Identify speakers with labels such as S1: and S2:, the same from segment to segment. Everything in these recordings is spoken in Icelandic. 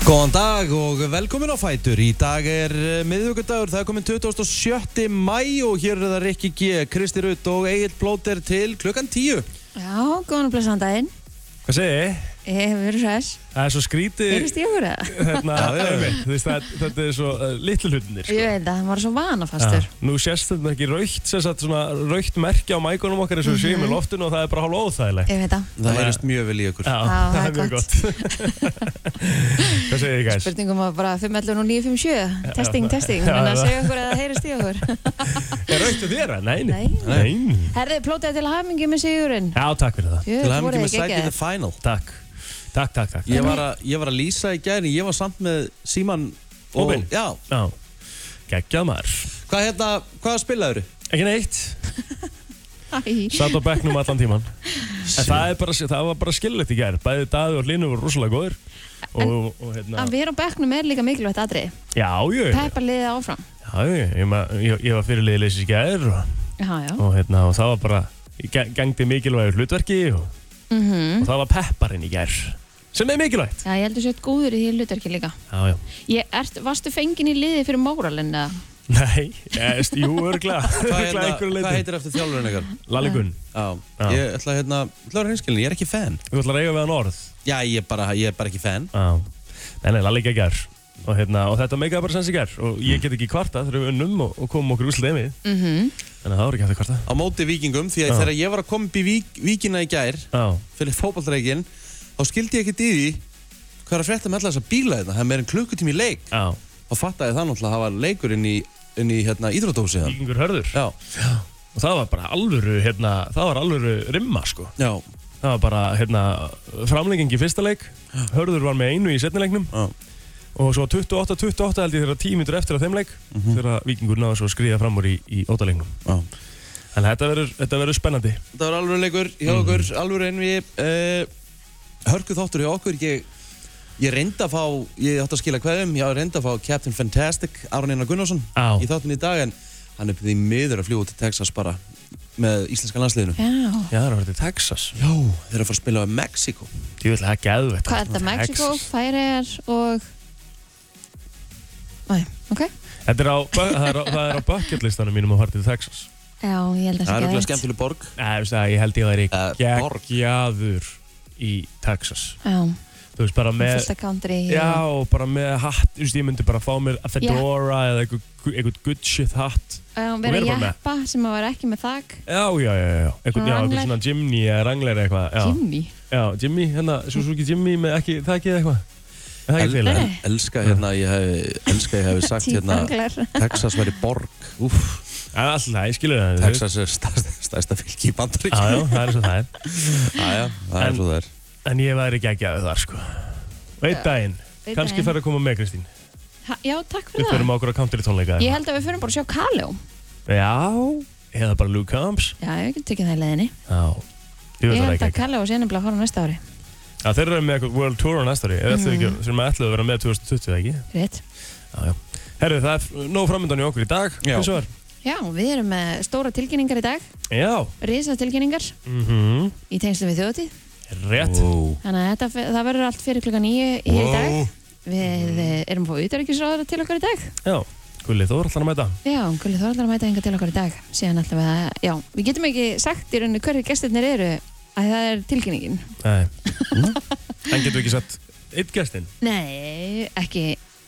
S1: Góðan dag og velkomin á Fætur. Í dag er eh, miðvikudagur, það er komin 27. mæ og hér er það Rikki G, Kristi Rutt og Egil Blóter til klukkan 10.
S2: Já, góðan og blessaðan daginn.
S3: Hvað segir þið?
S2: Ég hef verið hress.
S3: Það er svo skrítið
S2: Erist ég okkur eða?
S3: hérna,
S1: Já, já, já.
S3: einmitt, þú veist, það, Þetta er svo uh, litlu hlutinir
S2: Ég
S3: sko.
S2: veit það, hann var svo vanafastur.
S3: Já. Nú sést þetta ekki raukt sem sagt, svona, raukt merki á mækunum okkar eins og við séum í loftinu og það er bara hálfa
S2: Mhm.
S3: óþægilegt
S2: Ég veit það.
S1: Það heyrist mjög vel í ykkur.
S3: Já,
S2: það
S3: það
S2: er
S3: er mjög
S2: gott.
S3: gott Hvað segir þið gæs?
S2: Spurningum var bara 511 og 957. Testing,
S3: það-
S2: testing.
S3: Já,
S2: Þannig að
S3: það-
S2: segja okkur að það heyrist í okkur.
S3: Er raukt að þér? Nei,
S2: Nei.
S3: Nei.
S2: Herðið, plótaði til hamingi með sigurinn.
S3: Já, takk fyrir það
S2: Jú, voruð
S1: Til hann ekki með
S2: þið
S1: sækið the
S2: geggjaðir.
S1: final.
S3: Takk, takk, takk, takk.
S1: Ég var, að, ég var að lýsa í gæðin, ég var samt með Síman og...
S3: Opin.
S1: Já,
S3: Já, geggjað maður
S1: hvað hérna, hvað spilaður?
S3: Ekki neitt,
S2: Æ,
S3: satt á bekknum allan tíman En það, er bara, það var bara skillilegt í gær Bæði Daði og Línu voru rosalega góðir og, og, hérna,
S2: Að vera á bekknum er líka mikilvægt atrið.
S3: Já, jú, já,
S2: Peppa liðið áfram.
S3: jú, ég, ma- ég, ég var fyrirliðið leysið í gær og,
S2: Já, já.
S3: og, hérna, og það var bara Ég ge- gengdi mikilvægur hlutverki og,
S2: Mhm.
S3: og það var pepparinn í gær Sem er mikilvægt
S2: Já, ég heldur sért góður í því hlutverki líka.
S3: Já, já
S2: Ég, ert, varstu fengin í liði fyrir móralinn eða?
S3: Nei, eðst, jú, örgla
S1: Hvað, hérna,
S3: Örgla einhverju
S1: hvað
S3: leiti
S1: heitir eftir þjálfurinn ykkar?
S3: Lalli Gunn,
S1: Já,
S3: Já.
S1: ég ætla hérna, ætla að vera hreinskilin, ég er ekki fan.
S3: þú ætlar að eiga við hann orð
S1: Já, ég er bara, ég er bara ekki fan.
S3: Já, nei, nei, Lalli geggar og, hérna, og þetta meikaði bara sens í gær og ég get ekki kvarta þegar við unnum og, og komum okkur úslega yfir
S2: Mm
S4: Mm-hmm.
S3: þannig að það voru ekki hægt að kvarta
S1: Á móti vikingum, því að
S3: Já.
S1: þegar ég var að koma upp í vík, víkina í gær,
S3: Já,
S1: fyrir fótballreikin þá skildi ég ekkert í því hvað er að frétta með alla þessa bíla hérna það er meira en klukkutími í leik
S3: já,
S1: og fattaði það náttúrulega að hafa leikur inn í, inn í hérna, íþrótósi hann
S3: vikingur hörður
S1: já,
S3: og það var bara alvöru, hérna, það var alvöru rimma sko,
S1: já,
S3: það var bara hérna, framlenging í fyrsta leik hörður var með einu í setni leiknum
S1: já,
S3: og svo 28-28 held ég þegar tímindur eftir að þeim leik þegar vikingur náði svo að skriða fram úr í, í ótaleiknum
S1: Mhm. já.
S3: þannig að þetta verður- þetta verður spennandi
S1: það var alveg leikur hjá
S3: Mhm.
S1: okkur alveg einn við uh, hörku þáttur hjá okkur ég, ég reyndi að fá, ég átti að skila hverjum ég reyndi að fá Captain Fantastic Aron Einar Gunnarsson
S3: Já.
S1: í þáttin í dag en hann er því miður að fljúa til Texas bara með íslenska landsliðinu
S2: Já.
S3: Já, það er að vera til Texas
S1: já, þeir eru að fara að spila á Mexiko
S3: Ég vil það er geðveikt.
S2: Hvað er þetta? Mexiko,
S3: Texas.
S2: Færiðar og... Æ, ok.
S3: Þetta er á, bu- það er á, það er á bucketlistanum mínum að fara til Texas.
S2: Já, ég held að
S1: það er
S2: það
S1: örugglega
S2: sé
S1: skemmtileg borg
S3: Nei, þú veist það, ég held ég væri
S1: Eh, borg.
S3: geggjaður í Texas.
S2: Já,
S3: Þú veist, bara með,
S2: fullt af country.
S3: já, og bara með hatt, þú veist, ég myndi bara fá mér að fedora eða eitthvað- eitthvað good shit hatt.
S2: Já,
S3: Og
S2: vera
S3: vera bara með.
S2: jeppa sem að vera ekki með þak.
S3: Já, já, já, já, eitthvað, já,
S2: Wrangler.
S3: eitthvað svona Jimny eða Wrangler eða eitthvað. Já,
S2: Jimmy.
S3: já, Jimmy, hérna, Suzuki Jimmy með ekki, það ekki eða eitthvað. Er Það ekki til
S2: Nei,
S3: það.
S2: nei.
S1: Elska hérna, ég hef, elska ég hef sagt hérna
S2: Tífanglar.
S1: Texas væri borg Úf,
S3: Alltaf, ég skilur það. þú veist.
S1: Texas er stærsta, stærsta fylki í bandarík
S3: Já, já, það er svo það er.
S1: já, það er
S3: En-
S1: svo það er
S3: En ég væri geggjaður þar, sko. Og einn
S2: Já.
S3: daginn,
S2: Einn
S3: kannski
S2: daginn.
S3: færðu að koma með Kristín.
S2: Ha, já, takk
S3: Við
S2: fyrir það.
S3: förum á okkur að country tónleika
S2: Ég held að við fyrir bara að sjá Kaleo.
S3: Já Eða bara Luke Combs
S2: Já, ég get tekið það í leiðinni.
S3: Já Ég veit
S2: Ég
S3: það
S2: held
S3: ekki
S2: að Kaleo sé nefnilega að fara á næsta ári.
S3: Já, þeir eru með eitthvað World Tour á næsta ári Eða
S2: Mhm.
S3: eftir ekki Sem maður ætlaði að vera með 2020 eða ekki
S2: Rétt.
S3: Já, já Herru, það er nóg framöndan í okkur í dag
S1: Já.
S3: Hversu var?
S2: Já, við erum með stóra tilkynningar í dag.
S3: Já
S2: Risa tilkynningar
S3: Mhm
S2: í tengslu við þjóðtíð.
S3: Rétt
S1: Ó.
S2: Þannig að þetta, það verður allt fyrir klukka nýju hér í dag.
S3: Wow. Mm.
S2: Við eh, erum að fá utarriksráður til okkar í dag.
S3: Já Gulli Þór ætlar að mæta
S2: Já, Gulli Þorvallar mæta hinga til okkur í dag síðan ætlum við að, já, við getum ekki sagt í rauninu hverju gestirnir eru að það er tilkynningin
S3: Nei
S2: Hm?
S3: En getur við ekki sett Eitt gæstinn
S2: Nei, ekki,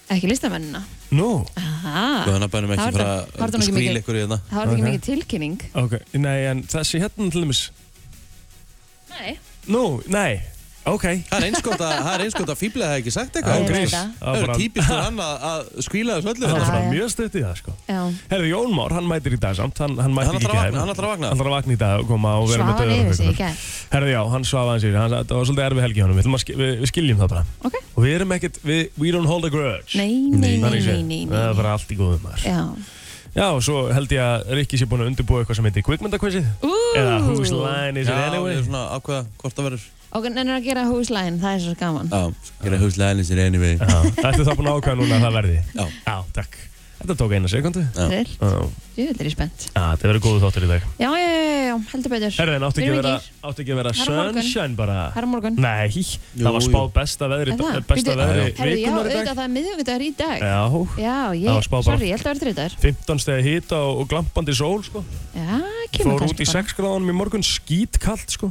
S2: ekki listamennina
S3: Nú
S2: Aha,
S1: Guðan að
S2: Það
S1: bænum um
S2: var
S1: ekki fara
S2: það- það var það
S1: að
S2: nú ekki
S1: skrýla
S2: mikið.
S1: ykkur í hérna
S2: það var ekki
S3: Ok.
S2: mikið tilkynning
S3: Ok Nei, en þessi hérna til dæmis
S2: Nei,
S3: Nú, nei Ok
S1: Það er einskot að, það er einskot að fíbla það ekki sagt
S2: Já,
S1: eitthvað
S2: Ég veit
S3: grís.
S2: það.
S3: Það
S1: Það
S3: var
S1: er
S3: bara-
S1: típist fyrir hann að, að skrýla þessu öllu
S3: Það var
S1: hérna.
S2: Já,
S3: bara
S2: já.
S3: mjög stutt í það sko
S2: já,
S3: Herðu, Jón Már, hann mætir í dag samt, hann, hann mætir
S1: Hann
S3: ekki í
S1: ætlar að
S3: gær.
S1: vakna, hann ætlar að vakna.
S3: Hann ætlar að vakna í dag og koma og vera
S2: svafa
S3: með
S2: neyfið sig í
S3: ykkur.
S2: gær
S3: Herðu, já, hann svafa hans yfir, hann, það var svolítið erfið helgi honum, við, ætlum að sk- við, við skiljum það bara.
S2: Ok,
S3: Og við erum ekkert, við, we don't hold a grudge.
S2: nei, nei, nei,
S3: Þannig sé,
S2: nei, nei,
S3: Það er
S2: nei.
S3: bara allt í góðum maður.
S2: Já,
S3: Já, og svo held ég að Rikki sé búin að undirbúa eitthvað sem heitir kvikmyndakvissið.
S2: ú
S3: Eða Whose Line Is It
S1: Já, ég
S3: Anyway?
S1: er svona ákveða hvort það verður
S2: Ok, nennir að gera húslæn, það er svo gaman
S1: Ah. Já, gera húslega henni sér anyway
S3: Já, ertu það búin að ákvæða núna að það verði?
S1: Já.
S3: Já, takk. Þetta tók eina sekundu
S2: Vel.
S3: Þetta
S2: Jú, þetta er ég spennt.
S3: verður góðu þáttur í dag
S2: Já, já, já, já, já, heldur betur.
S3: Herði, en áttu
S2: Við
S3: ekki að
S2: erum
S3: vera,
S2: í gír.
S3: áttu ekki að vera
S2: Það er á morgun.
S3: sunshine bara
S2: Það er á morgun.
S3: Nei, það var
S1: Jú,
S3: spáð
S1: jú.
S3: besta veðri
S2: Er það?
S3: Besta
S2: Bíddu,
S3: veðri
S2: Herði, já,
S3: vikunar í dag
S2: auðvitað það er miðvikudagur í dag.
S3: Já,
S2: Já,
S3: Það
S2: ég,
S3: var spá bara-
S2: sorry, ég held að vera þriðdagur.
S3: 15 stegi hýta og, og glampandi sól sko.
S2: Já, kemur
S3: Fór
S2: kannski
S3: út í
S2: bara.
S3: 6 gráðanum í morgun skítkallt sko.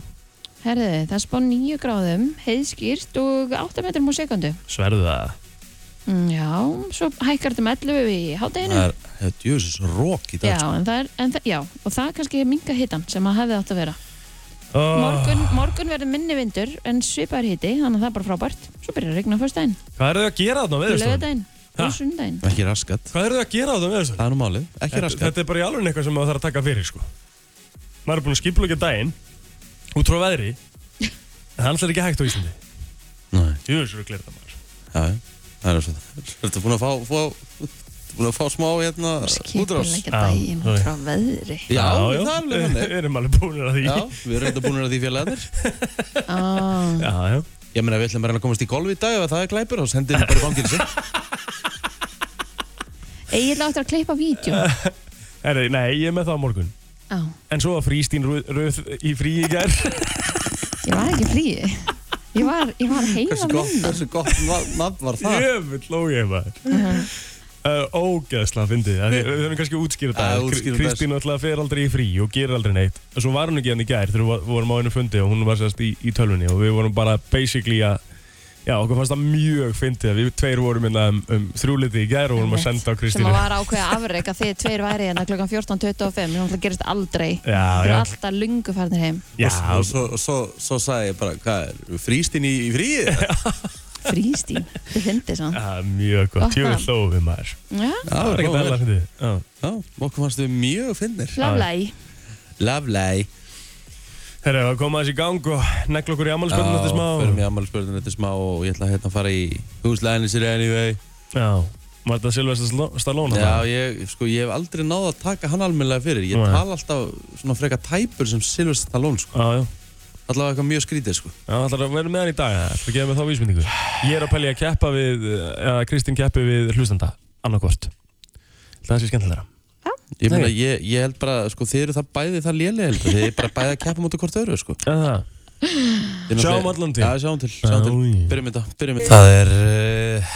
S2: Herði, það er spá 9 gráðum, heiðskýrt og 8 metrum á sekundu.
S3: Sverðu það
S2: Mm, Já, svo hækkar þetta með 11 í hátæginu.
S1: Það er, þetta er jöfus rók í
S2: Já,
S1: dag. sko.
S2: en það er, en það, já, og það er kannski minga hitan sem að hefði átt að vera.
S1: Ah.
S3: oh,
S2: Morgun, morgun verður minni vindur en svipar hiti, þannig að það er bara frábært. Svo byrjar að regna á fyrstæðin,
S3: Hvað eru þau að gera þarna á veðurstofun?
S2: lögadæn
S3: Ha?
S2: og sundæn.
S1: Ekki raskat.
S3: Hvað eru þau að gera þarna á veðurstofun?
S1: Það er nú málið. Ekki
S3: Þetta,
S1: raskat.
S3: þetta er bara í alveg eitthvað sem maður þarf að taka fyrir sko. Maður er búin að skipla ekki daginn út frá veðri en það er alltaf ekki hægt á Íslandi
S1: Nei,
S3: Jöfus eru að glera það maður
S1: já, já. Það er svona. Þetta er búin að fá, fá, ertu búin að fá smá hérna útrás. Ah,
S2: Skipilegja
S3: Já,
S2: daginn
S3: sorry.
S2: frá veðri.
S1: Já, það er alveg
S3: Við
S1: þannig.
S3: erum alveg búin að því
S1: Já, við erum reynda búin að því félagarnir.
S2: Ah.
S3: já, já.
S1: Ég meina, við ætlum bara að komast í golf í dag ef það er glæpur og sendir bara fangilsi.
S2: Egil áttur að klippa vídeo.
S3: Herri, nei, ég er með það á morgun
S2: Á,
S3: En svo var frístín röð, röð í frí í gær
S2: ég var ekki í fríi. Ég var, ég var heima
S1: Hversu gott,
S2: minna.
S1: hversu gott nafn var það?
S3: Jöfull lógið maður Uh, ógeðslega fyndið Það er- Við höfum kannski útskýrt
S1: Já,
S3: það
S1: útskýrum
S3: Kristín náttúrulega fer aldrei í frí og gerir aldrei neitt En Svo var hún ekki hann í gær þegar við var- vorum á einu fundi og hún var sérst í, í tölvunni og við vorum bara basically að Já, okkur fannst það mjög fyndið að við tveir vorum hérna um, um þrjúliti í gær og vorum að senda á
S2: sem
S3: Kristínu
S2: að var ákveða afreg að þið tveir væri hérna klukkan 14.25 sem alltaf gerist aldrei
S3: Já,
S2: þið
S3: já.
S2: eru alltaf lungu farnir heim
S3: Já,
S1: Og svo, og svo, svo sagði ég bara, hvað er, fríst inn í, í fríið?
S2: frístín, þið fyndið svo
S3: ja, mjög gott,
S2: Gott
S3: tjóður
S2: það.
S3: hlófið maður
S2: já,
S1: Já,
S3: Það var ekki dæla fyndið Já.
S1: Já, okkur fannst við mjög finnir.
S2: hlaflæg
S1: Lovely.
S3: Herra, að koma aðeins í gang og negla okkur í ammálspöldinu eftir smá
S1: fyrir mig ammælisbörðin eftir smá og ég ætla hérna að fara í húslæðinni sér anyway.
S3: Já, var þetta Silvestre Stallone?
S1: Já, ég, sko, ég hef aldrei náða að taka hann almennilega fyrir. Ég
S3: Nei.
S1: tala alltaf svona freka tæpur sem Silvestre Stallone, sko.
S3: Já, já,
S1: Allavega eitthvað mjög skrítið, sko.
S3: já, það er að vera með hann í dag Það er að gefa mig þá vísmyndingu Ég er að pæli að keppa við eða Kristín keppi við hlustanda annarkvort Það sé skemmtilega
S1: Ég meina,
S3: Nei.
S1: ég, ég held bara, sko, þið eru það bæði það lélega, held ég. Þið eru bara bæði að keppa mútið hvort öðru, sko.
S3: En það,
S1: Þið náttúrulega-
S3: Sjáum allan til.
S1: Já, sjáum til, sjáum til.
S3: Já, já.
S1: Byrjum þetta, byrjum þetta. Það er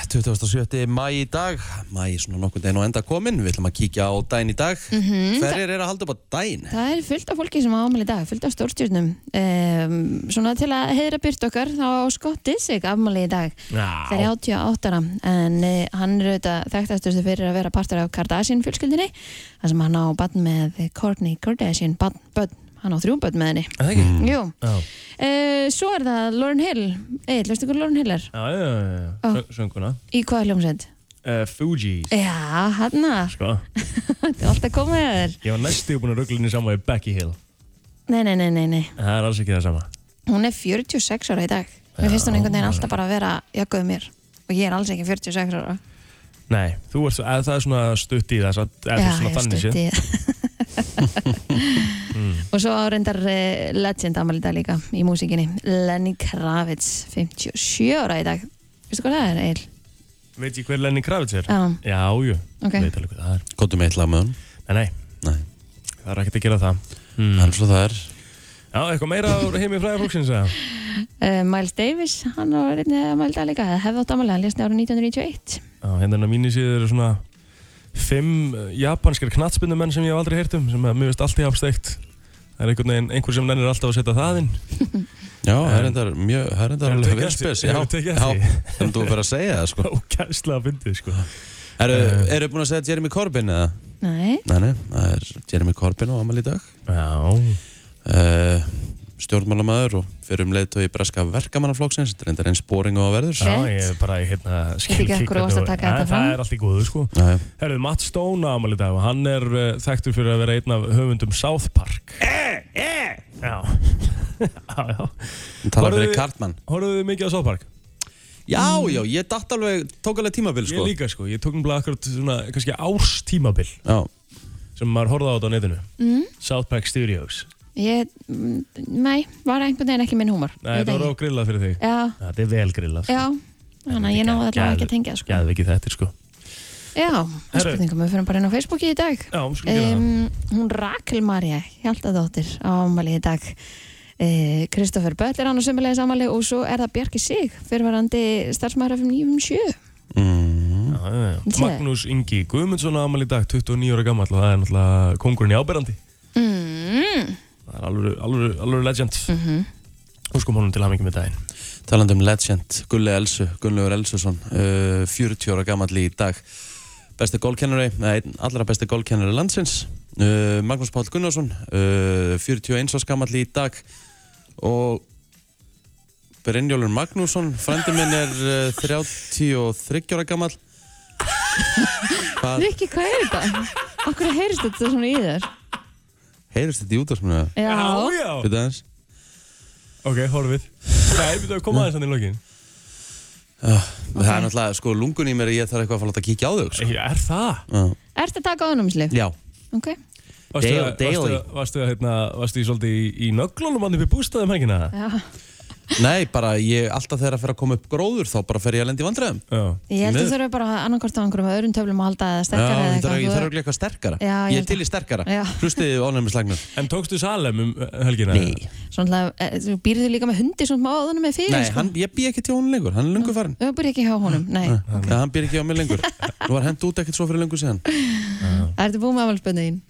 S1: uh, 27. mæ í dag. Mæ er svona nokkur deginn og enda komin. Við ætlum að kíkja á daginn í dag. Mm
S3: Mhm.
S1: -hmm. Hverjir eru að halda upp á daginn?
S2: það er fullt af fólki sem á ámæli í dag fullt af stórstjórnum um, svona til að heiðra byrt okkar þá á skottið sig afmæli í dag Það er 88 ára, en eh, hann er auðvitað þekktastustu fyrir að vera partur af Kardashian fjölskyldinni, þar sem hann á bann með Kourtney Kardashian bann, bann, hann á þrjú bann með henni. Mm.
S3: það ekki?
S2: Jú,
S3: Já,
S2: uh, svo er það Lauren Hill, eitthvað, veistu hvað Lauren Hill er?
S3: já, já, já,
S2: Já.
S3: já. Sönguna
S2: Í hvað hljómsveit?
S3: uh, Fugees
S2: Já, hann að,
S3: Sko,
S2: þetta er alltaf komið að þér.
S3: ég var næstu búin að rugglinni saman við Becky Hill
S2: Nei, nei, nei, nei, nei,
S3: En Það er alls ekki það sama
S2: hún er 46 ára í dag. Mér finnst hún einhvern veginn alltaf bara að vera jakkuð mér og ég er alls ekki 46 ára.
S3: Nei, þú ert, eða það er svona stutt í það satt- eða svona þannig séð. Hmm.
S2: ég stutti og svo á reyndar eh, legend afmæli í dag líka í músikinni Lenny Kravitz, 57 ára í dag veistu hvað það er, Egil?
S3: Veit ég hver Lenny Kravitz er?
S2: Já,
S3: Já, jú,
S2: ok
S3: veit alveg hvað það er
S1: Kottum eitt lag með hann.
S3: Nei, nei,
S1: Nei,
S3: það er ekkert að gera það
S1: mm. hann svo það er.
S3: Já, eitthvað meira á heimi fræða fólksins eða?
S2: uh, Miles Davis, hann á reyndar afmæli í dag líka hefði átt afmæli, hann lésni ára 1991
S3: Já, hérna mínu síður eru svona fimm eh, japanskir knatsbyndumenn sem ég hef aldrei heyrt um sem að mér veist allt í hafsteikt Það er einhvern veginn, einhver sem nennir alltaf að setja það inn
S1: Já, það er
S3: En-
S1: reyndar mjög, það er reyndar
S3: Hefur
S1: alveg
S3: tekið
S1: vel
S3: eftir-
S1: spes.
S3: hefur tekið
S1: já,
S3: eftir því?
S1: þannig þú verður að segja það, sko.
S3: Ógæslega fyndið, sko Eh.
S1: Eru, eru búin að segja Jeremy Corbyn eða?
S2: nei,
S1: Nei, nei, það er Jeremy Corbyn á amal í dag.
S3: Já,
S1: Uh, stjórnmálamæður og fyrir um leiðtögi breska verkamannaflóksins. Þetta er reyndar einn sporing á að verður.
S3: já,
S2: Rétt.
S3: ég er bara, hérna, skil
S2: ekki af hverju
S3: hvernig
S2: varstu að
S3: þú-
S2: taka
S3: Nei,
S2: þetta fram.
S3: Það er allt í góðu, sko
S1: Já, já.
S3: Herðu, Matt Stone á ámali í dag og hann er uh, þekktur fyrir að vera einn af höfundum South Park Eh, eh Já, já, já
S1: Tala
S3: Voruð
S1: fyrir
S3: þið-
S1: Cartman.
S3: Horfðu þið mikið á South Park?
S1: Já, já, ég datt alveg, tók alveg tímabil, sko.
S3: Ég líka sko, ég tók náttúrulega akkurat svona kannski árs tímabil
S1: Já,
S3: sem maður horfði á þetta á netinu mm. South Park Studios
S2: ég mm, nei, var einhvern veginn ekki minn húmor
S3: Nei,
S2: Ég veit
S3: þetta var
S2: ekki.
S3: á grillað fyrir þig
S2: já,
S3: Þetta er vel grillað
S2: já, þannig að ég náði allavega ekki að tengja sko.
S3: Gæði ekki þetta sko
S2: Já,
S3: Herru.
S2: spurningum, við fyrir bara inn á Facebooki í dag
S3: Já, við skulum gera það.
S2: um, Hún Rakel Marja Hjaldadóttir á ámali í dag Eh, Kristoffer uh, Böll er hann á sömulegis ámali og svo er það Bjarki Sig fyrirvarandi starfsmæður af 9.7
S1: Mm.
S3: Já, já, já.
S2: Sé.
S3: Magnús Ingi Guðmundsson á amal í dag, 29 ára gammal og það er náttúrulega kongurinn í áberandi
S4: Mm-hmm.
S2: mm.
S3: það er alveg, alveg, alveg legend mm -hmm.
S2: Mhm.
S3: Óskum honum til hamingi með daginn
S1: Talandi um legend, Gulli Elsu, Gunnlaugur Elsusson, uh, 40 ára gammal í dag. Besti gólkennari, eða einn allra besti gólkennari landsins, uh, Magnús Páll Gunnarsson, uh, 41 ára gammal í dag. Og Brynjólfur Magnússon, frendi minn er uh, 33 ára gammal. Hvað,
S2: Rikki, hvað er þetta? Okkur heyrist þetta svona í þér?
S1: heyrist þetta í útvarsminu?
S2: Já,
S3: já
S1: Fyrir aðeins?
S3: Ok, horfið Nei, við þau
S1: Mm.
S3: koma aðeins hann í lokin
S1: Það er náttúrulega, sko, lungun í mér, ég þarf eitthvað að fara að láta kíkja á þau, sko.
S3: Ég er það
S1: Já.
S2: Ertu að taka áðunumislið?
S1: Já.
S2: Ok,
S3: Varstu,
S1: Daily,
S3: varstu, varstu,
S1: daily.
S3: varstu, hérna, varstu í svolítið í, í nöglunum hann upp í bústaðum helgina?
S2: já
S1: Nei, bara ég, alltaf þegar að fer að koma upp gróður þá bara fer ég að lenda í vandræðum.
S3: Já
S2: Ég held að
S1: Miður.
S2: þurfa bara annarkort á einhverjum öðrum töflum að halda eða sterkara
S1: Já,
S2: eða
S1: ég þarf ég
S2: þú-
S1: þarf örugglega eitthvað sterkara.
S2: Já, ég
S1: ég
S2: held
S1: er til í sterkara.
S2: Já.
S1: Hlustið þið ánægum í slagnum.
S3: En tókstu Salem um eh, helgina?
S2: Svona, eh, þú býrðu líka með hundi svona smá áðunum með fyrir
S1: Nei,
S2: sko.
S1: hann, ég býð ekki til honum lengur, hann er lengur farin.
S2: Þau byrja ekki hjá honum, nei.
S1: Það hann býr ekki á mig lengur. Nú var hend út ekkert svo fyrir lengur síðan.
S2: Ertu búin með afmælspönnuðin?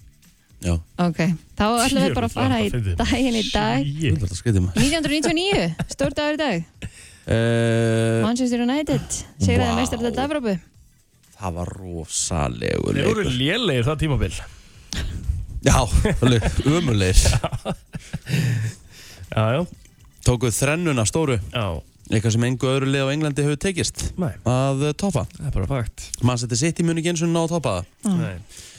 S1: Já,
S2: Ok, þá ætlum við bara að fara í
S3: Djöfull, það
S2: daginn í dag.
S1: ég
S3: Shit.
S1: vil alltaf skriðið maður.
S2: 1999, stór dagur í dag.
S1: Uh,
S2: Manchester United, segir að það
S1: Vá.
S2: mestar þetta Evropu.
S1: það var rosalegur
S3: Þeir voru
S1: leikur.
S3: lélegir það tímabil
S1: Já, alveg umulegir.
S3: Já, já
S1: Tókuð þrennuna stóru,
S3: Já,
S1: eitthvað sem engu öðru lið á Englandi hefur tekist
S3: nei,
S1: að eh, toppa.
S3: það er bara fakt
S1: Man seti sitt í muni ekki eins og ná að toppa það.
S3: Nei.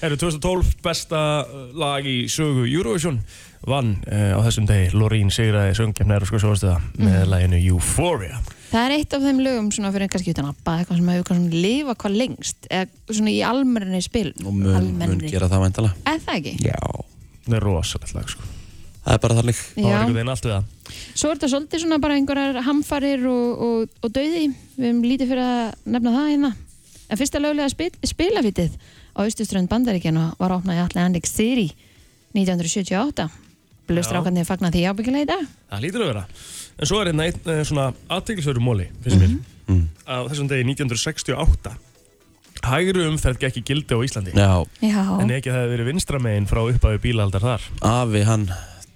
S3: Eru 2012 besta eh, lag í sögu Eurovision vann uh, á þessum degi Lorín sigraði söngjafnæður sko sjóðastuða
S1: Mm.
S3: með laginu Euphoria
S2: Það er eitt af þeim lögum svona fyrir kannski utan appa, eitthvað sem hefur kannski lifa hvað lengst, eða svona í almennri spil.
S1: Og mun, mun gera það væntala.
S2: Eða það ekki?
S1: Já.
S3: Það er rosalegt lag sko
S1: Það er bara þannig.
S3: Það var
S2: Já.
S3: einhvern veginn allt við það
S2: Svo er þetta svolítið svona bara einhverjar hamfarir og, og, og dauði. Við hefum lítið fyrir að nefna það hérna. En fyrsta löglega spil, spilafítið á Ístuströnd Bandaríkjana var opnað í allir Andik Siri 1978. Blöðstrákarnir fagna því ábyggilega í dag.
S3: Það lítur að vera. En svo er hérna einn eh, svona aðteglisverðu móli, finnst
S1: Mm.
S3: mér. Á þessum degi 1968. Hægri umferð gekk í gildi á Íslandi.
S1: Já,
S2: Já,
S3: En ekki það hefði verið vinstra megin frá upphæðu bílaldar þar.
S1: afi hann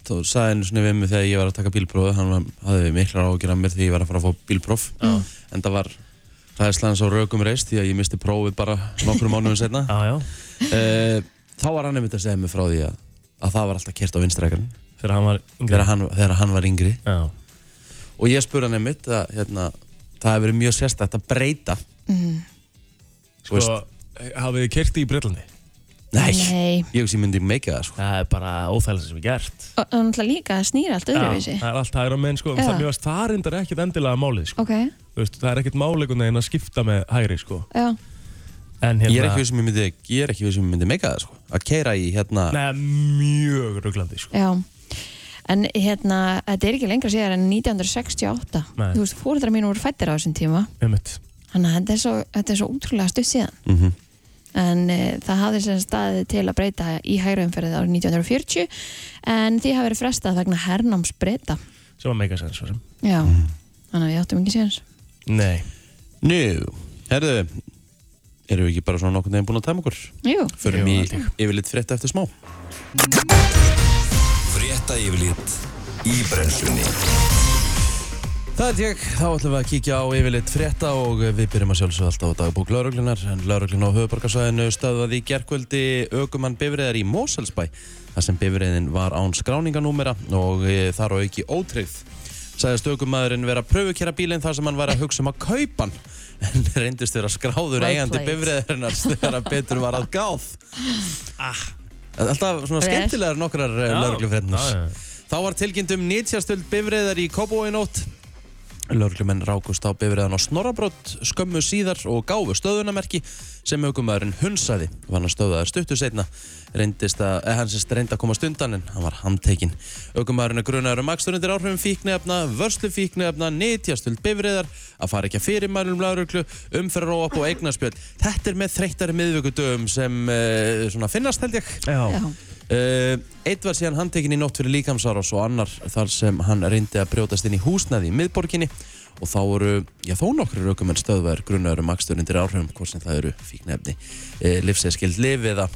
S1: þá sagði einu svona við mig þegar ég var að taka bílpróf hann var- hafði miklar ágjur af mér þegar ég var að fara að fá bílpróf
S2: Mm.
S1: en það var ræðislega hans á rökum reist því að ég misti prófið bara nokkrum mánuðum setna
S3: Já, já.
S1: e, þá var hann einmitt að segja mig frá því að, að það var alltaf kert á vinstrækarn
S3: Þegar hann var yngri.
S1: þegar, hann- þegar hann var yngri
S3: Já.
S1: og ég spurði hann einmitt að hérna, það hefur verið mjög sérstætt að breyta Þú
S3: Sko, hafið þið kerti í Breitlandi?
S1: nei,
S2: nei.
S1: ég hugsi ég myndi meika það sko.
S3: Það er bara óþægilega sem er gert.
S2: Og og náttúrulega líka að snýra allt öðruvísi.
S3: það er allt hægra megin, sko.
S2: Já.
S3: Það mjög að það reyndar ekkit endilega málið, sko.
S2: Ok,
S3: Þú Veist, það er ekkit máleikun en að skipta með hægri, sko.
S2: já.
S3: En
S1: ég er
S3: hérna...
S1: ekki við sem ég myndi, ég er ekki við sem ég myndi meika það sko. að keira í hérna
S3: Nei, mjög rugglandi, sko.
S2: Já, en hérna, þetta er ekki lengra síðar en 1968.
S3: Nei.
S2: Þú veist, fóreldrar mínu voru fættir á þessum tíma.
S3: Einmitt.
S2: Þannig að þetta er svo, þetta er svo útrúlega stutt síðan.
S1: mm
S3: Mhm.
S2: En e, það hafði sem sagt staðið til að breyta í hægriumferðið árið 1940 en því hafi verið frestað vegna hernáms breyta.
S3: Sem að meika sens, svo sem.
S2: Já,
S3: Mhm.
S2: þannig að við áttum ekki séns.
S3: Nei.
S1: Nú, herðu, erum við ekki bara svona nokkurn veginn búin að tæma okkur?
S2: Jú,
S3: Jú,
S1: Förum í
S3: held ég.
S1: yfirleitt frétta eftir smá.
S5: Frétta yfirlit í brennslunni
S1: Það er ég, þá ætlum við að kíkja á yfirleitt frétta og við byrjum að sjálfsögða alltaf á dagbúk lauruglunar en lauruglun á höfubarkasvæðinu stöðvaði í gerkvöldi aukumann bifriðar í Moselsbæ þar sem bifriðin var án skráninganúmera og eh, þar á auki ótreyð sagðist aukumæðurinn vera að pröfukera bílinn þar sem hann var að hugsa um að kaupa hann en reyndist vera skráður
S2: Well
S1: eigandi
S2: played.
S1: bifriðarinnar þegar að betur var að gáð
S3: Ah.
S1: Alltaf svona
S2: Vel.
S1: skemmtilegar nokkrar eh,
S3: Já.
S1: lauruglufréttnars
S3: Já, já.
S1: Þá var tilkynnt um nýtjastöld bifriðar í Kópói nótt Lörglumenn rákust á bifriðan á Snorrabrott skömmu síðar og gáfu stöðunamerki sem aukumæðurinn hunsaði. Var hann stöðaður stuttu setna, reyndist að, eh, hann sérst reyndi að komast undan en hann var handtekinn. Aukumæðurinn er grunaður um akstur undir áhrifum fíknefna, vörslu fíknefna, nýtjastöld bifriðar, að fara ekki að fyrirmælum lauruglu, umferðaróap og eignarspjöld. Þetta er með þreyttari miðvíkudöfum sem uh, svona finnast held ég.
S2: Já.
S1: Uh, eitt var síðan handtekinn í nótt fyrir líkamsárás og annar þar sem hann reyndi að brjótast inn í húsnaði í miðborginni og þá voru, já þó nokkru raukumenn stöðvar grunnaður um akstur undir áhrifum hvort sem það eru fíknefni, uh, livsæskild liv eða,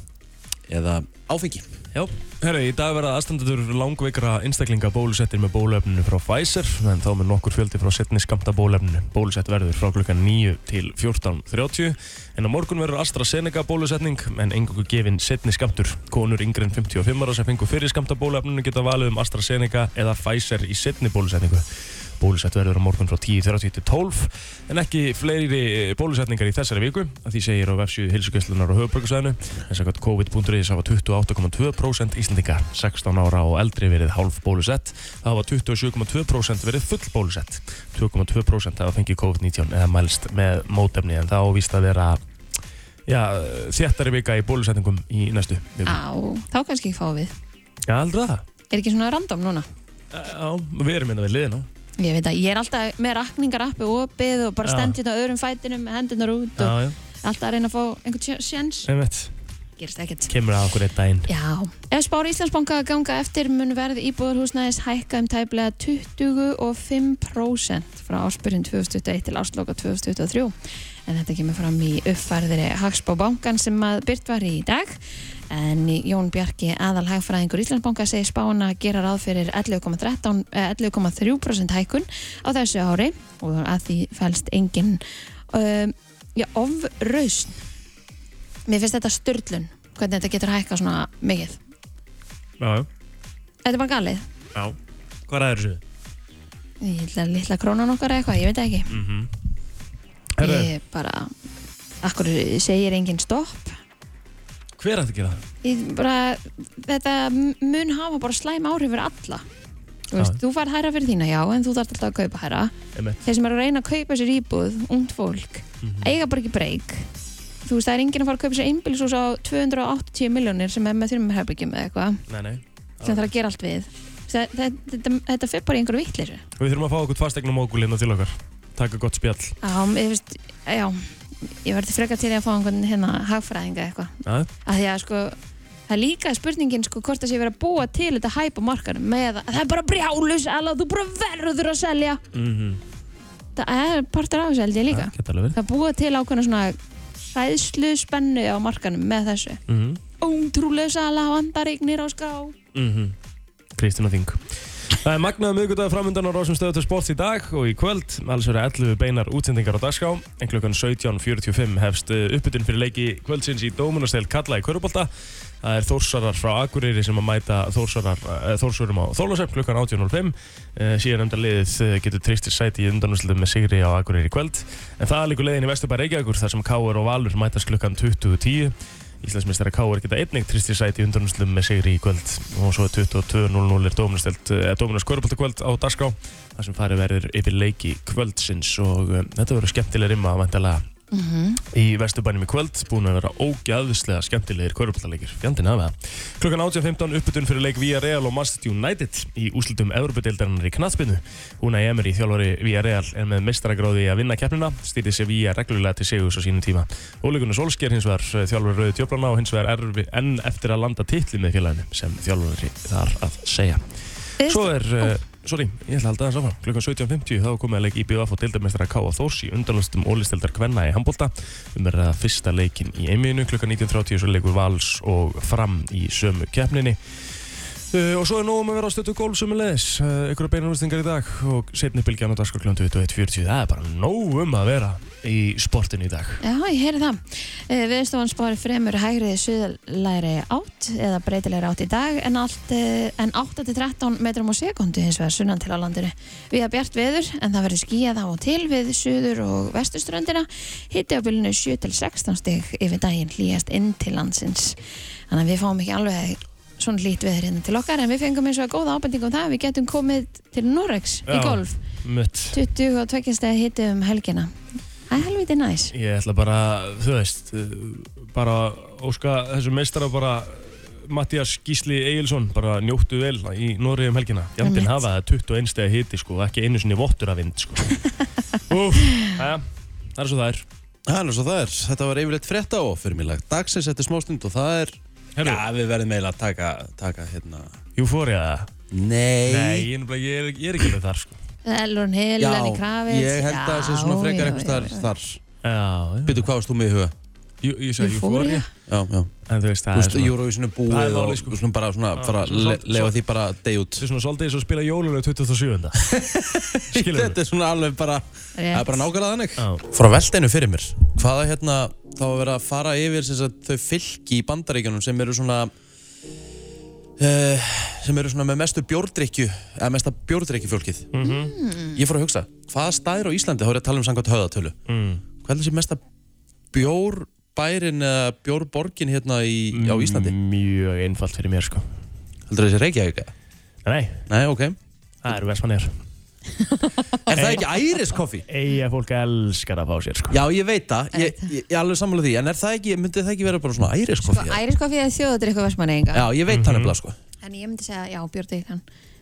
S1: eða áfengi.
S3: Já, herru, í dag verða aðstandendur langveikra einstaklinga bólusettir með bóluefninu frá Pfizer en þá með nokkur fjöldi frá setni skamta bóluefninu. Bólusett verður frá klukkan 9 til 14.30 en á morgun verður AstraZeneca bólusetning en engungu gefinn setni skamtur. Konur yngri en 55 ára sem fengur fyrir skamta bóluefninu geta valið um AstraZeneca eða Pfizer í setni bólusetningu. Bólusett verður á morgun frá 10.30 til 12 en ekki fleiri eh, bólusetningar í þessari viku að því segir á vefsíðu hilsugjöslunar og höfuborgarsæðinu en sagt COVID.is hafa 28,2% Íslandinga 16 ára og eldri verið hálf bólusett það hafa 27,2% verið full bólusett 2,2% hafa fengið COVID-19 eða mælst með mótefni en það ávist að vera já, þéttari vika í bólusetningum í næstu viku.
S2: Á, þá kannski ekki fá við.
S3: Já, aldrei það
S2: Er ekki svona random núna?
S3: Já, við erum hérna við liðin á
S2: Ég veit að ég er alltaf með rakningarappi opið og bara
S3: Já.
S2: stend hérna á öðrum fætinum með hendurnar út og
S3: Já, já,
S2: alltaf að reyna að fá einhvern sjens.
S3: einmitt
S2: Gerist ekkert.
S3: Kemur að okkur eitt daginn
S2: Já, ef spár Íslandsbanka ganga eftir mun verð íbúðarhúsnæðis hækka um tæplega 25% frá áspyrjun 2021 til ásloka 2023 en þetta kemur fram í uppfærðri Hagspá bankan sem að byrt var í dag en Jón Bjarki aðal hagfræðingur Íslandsbanka segir spána gera ráð fyrir 11,13 eh, 11,3% hækkun á þessu ári og að því fælst engin um, já, ofrausn Mér finnst þetta störlun hvernig þetta getur hækkað svona mikið
S3: Já,
S2: Þetta er bara galið
S3: já Hvað ræður þessu?
S2: Ég held að litla krónan okkar eða eitthvað, ég veit það ekki
S3: Mm -hmm.
S2: Ég bara, akkur segir engin stopp
S3: hver ætti að gera það?
S2: ég bara, Þetta mun hafa bara slæm áhrif fyrir alla Þú veist,
S3: Já.
S2: þú færð hærra fyrir þína, já, en þú þarf alltaf að kaupa hærra
S3: Einmitt. Mhm.
S2: Þeir sem eru að reyna að kaupa sér íbúð, ungt fólk eiga bara ekki breyk Þú veist, það er enginn að fara að kaupa sér einbílisús á 280 miljónir sem er með þrjum herbyggjum eða eitthvað
S3: Nei, nei.
S2: sem þarf að gera allt við Þetta, þetta, þetta, þetta fer bara í einhverju vittlir
S3: Við þurfum að fá okkur tvastegnum ógulina til okkar. Takka gott spjall.
S2: Já, ég veist, já, ég verði frekar til í að fá einhvern hérna hagfræðinga eitthvað.
S3: Ja.
S2: Að því að sko, það er líka spurningin sko hvort það sé verið að búa til þetta hæp á markanum með að það er bara brjálus, alveg þú bara verður að selja.
S3: Mm -hmm.
S2: Það er partur af þessu held ég líka.
S3: Geta alveg verið.
S2: Það er búa til ákveðna svona hræðslu spennu á markanum með þessu.
S3: Mm -hmm.
S2: Óntrúlega sala, vandarignir á skrá.
S3: Mm Kristina Þing. Það er magnaðið miðgutæði framöndan á Rásum stöðu til sports í dag og í kvöld. Alls verður 11 beinar útsendingar á dagskrá. En klukkan 17.45 hefst eh, uppbytun fyrir leiki kvöldsins í Dómunastel Kalla í Körubolta. Það er Þórsarar frá Akureyri sem að mæta Þórsarar, eh, Þórsurum á Þólasöfn klukkan 18.05. Eh, Síðan nefnda liðið eh, getur tristir sæti í undanúsluðum með Sigri á Akureyri í kvöld. En það er líka leiðin í Vesturbær Reykjavíkur þar sem K.R. og Valur mætast klukkan 20.10. Íslandsmeistara K.R. geta einnig tristir sæti í undanúsluðum með Sigri í kvöld. Og svo er 22.00 er Dóminastelt, eh, Dóminast Körbólta kvöld á Darská. þar sem farið verður yfir leiki kvöldsins og eh, þetta verður skemmtileg rimma væntanlega
S2: Mm
S3: í Vesturbænum í kvöld búin að vera ógæðislega skemmtilegir kvöruboltalegir fjandinn af það klukkan 18.15 uppbytun fyrir leik Villarreal og Manchester United í úslutum Evropadeildarinnar í knattspinnu Húna Emery þjálfari Villarreal er með meistaragráði í að vinna keppnina stýrði sér Villar reglulega til segjus á sínum tíma Óleikunar Solskjær hins vegar eh, þjálfari Rauði Tjóplana og hins vegar erfi enn eftir að landa titli með félaginu sem þjálfari þar að segja Svo er, uh, sorry, ég ætla að halda það saman Klukkan 17.50 þá er komið að leik IBF og deildarmestara K.A. Þórs í undanlustum ólistildar Kvenna í handbólta um er það fyrsta leikin í einmiðinu klukkan 19.30 svo leikur Vals og Fram í sömu keppninni Uh, og svo er nógum að vera á stötu gólf sem er leðis uh, ykkur að beina úrstingar í dag og setni bylgjan á dagskur klukkan 21.40 það er bara nógum að vera í sportinu í dag
S2: Já, ég heyri það. Viðstofan spári fremur hægrið suðalæri átt eða breytilegri átt í dag en, allt, eh, en 8-13 metrum á sekundu hins vegar sunnan til á landinu. Við að bjart veður en það verður skíjað á og til við suður og vesturströndina. Hitti á bylunu 7-16 stig yfir daginn hlýjast inn til landsins. Þannig að við fáum ekki alveg svona lít veður hérna til okkar en við fengum eins og að góða ábending um það að við getum komið til Norex í
S3: Já.
S2: golf
S3: Mutt.
S2: 22 stegi hitti um helgina Það er helviti næs
S3: Ég ætla bara, þú veist, eh, bara óska þessu meistara bara Mattias Gísli Egilson, bara njóttu vel í Noregi um helgina. Jandinn
S2: Einmitt.
S3: hafa það 21 stegi hiti sko, ekki einu sinni vottur af vind sko. Úf, aðja, það er svo það er.
S1: Hann er svo það er, þetta var yfirleitt frétta og fyrirmilag dagsins eftir smástund og það er
S3: Herru.
S1: Já, við verðum eiginlega að taka, taka hérna
S3: Euphoria það? Nei,
S1: Nei,
S3: ég er, nefnilega- ég er, ég er ekki alveg þar sko.
S2: Elrun Hill,
S1: Já,
S2: Lenny Kravitz
S1: ég held að það sé svona frekar eitthvað þar,
S2: Sko,
S1: þar.
S3: Já, já.
S1: Býtu, hvað varst þú með í huga?
S3: Jú- Ég sagði Euphoria.
S2: Euphoria.
S1: Já, já
S3: En þú veist,
S1: Þú
S3: það er
S1: veist,
S3: svona,
S1: Eurovision er
S3: Það er
S1: búið
S3: málið,
S1: og
S3: sko.
S1: svona bara svona
S3: Já,
S1: fara
S3: svona
S1: le
S3: svolítið-
S1: lefa því bara deg út
S3: það er svona svolítið eins og að spila jólulegu 27. Skilur
S1: Þetta er svona alveg bara Það er bara nákvæmlega þannig
S3: Já.
S1: Frá velteinu fyrir mér Hvaða hérna þá að vera að fara yfir sem sagt, þau fylki í bandaríkjunum sem eru svona uh, sem eru svona með mestu bjórdrykju eða mesta bjórdrykju fólkið
S3: Mhm.
S1: Ég fór að hugsa Hvaða staðir á Íslandi þá er ég að tala um samkvæmt höðatölu
S3: Mm.
S1: Hvað er þessi mesta bjórbærin eða bjórborgin hérna í, á Íslandi?
S3: Mm, Mjög einfalt fyrir mér sko.
S1: Heldur þessi Reykjavík? eða?
S3: Nei,
S1: Nei, ok Er
S3: það eru Vestmannegar.
S1: það ekki Iris Coffee?
S3: Eiga fólk elskar að fá sér sko.
S1: Já, ég veit það, ég, ég, ég er alveg sammála því En er það ekki, myndi það ekki vera bara svona Iris Coffee? eða?
S2: Æriskoffi eða þjóðadrykku versmanninga
S1: Já, ég veit
S3: Mhm.
S1: það nefnilega sko
S2: En ég myndi segja, já, björdi þann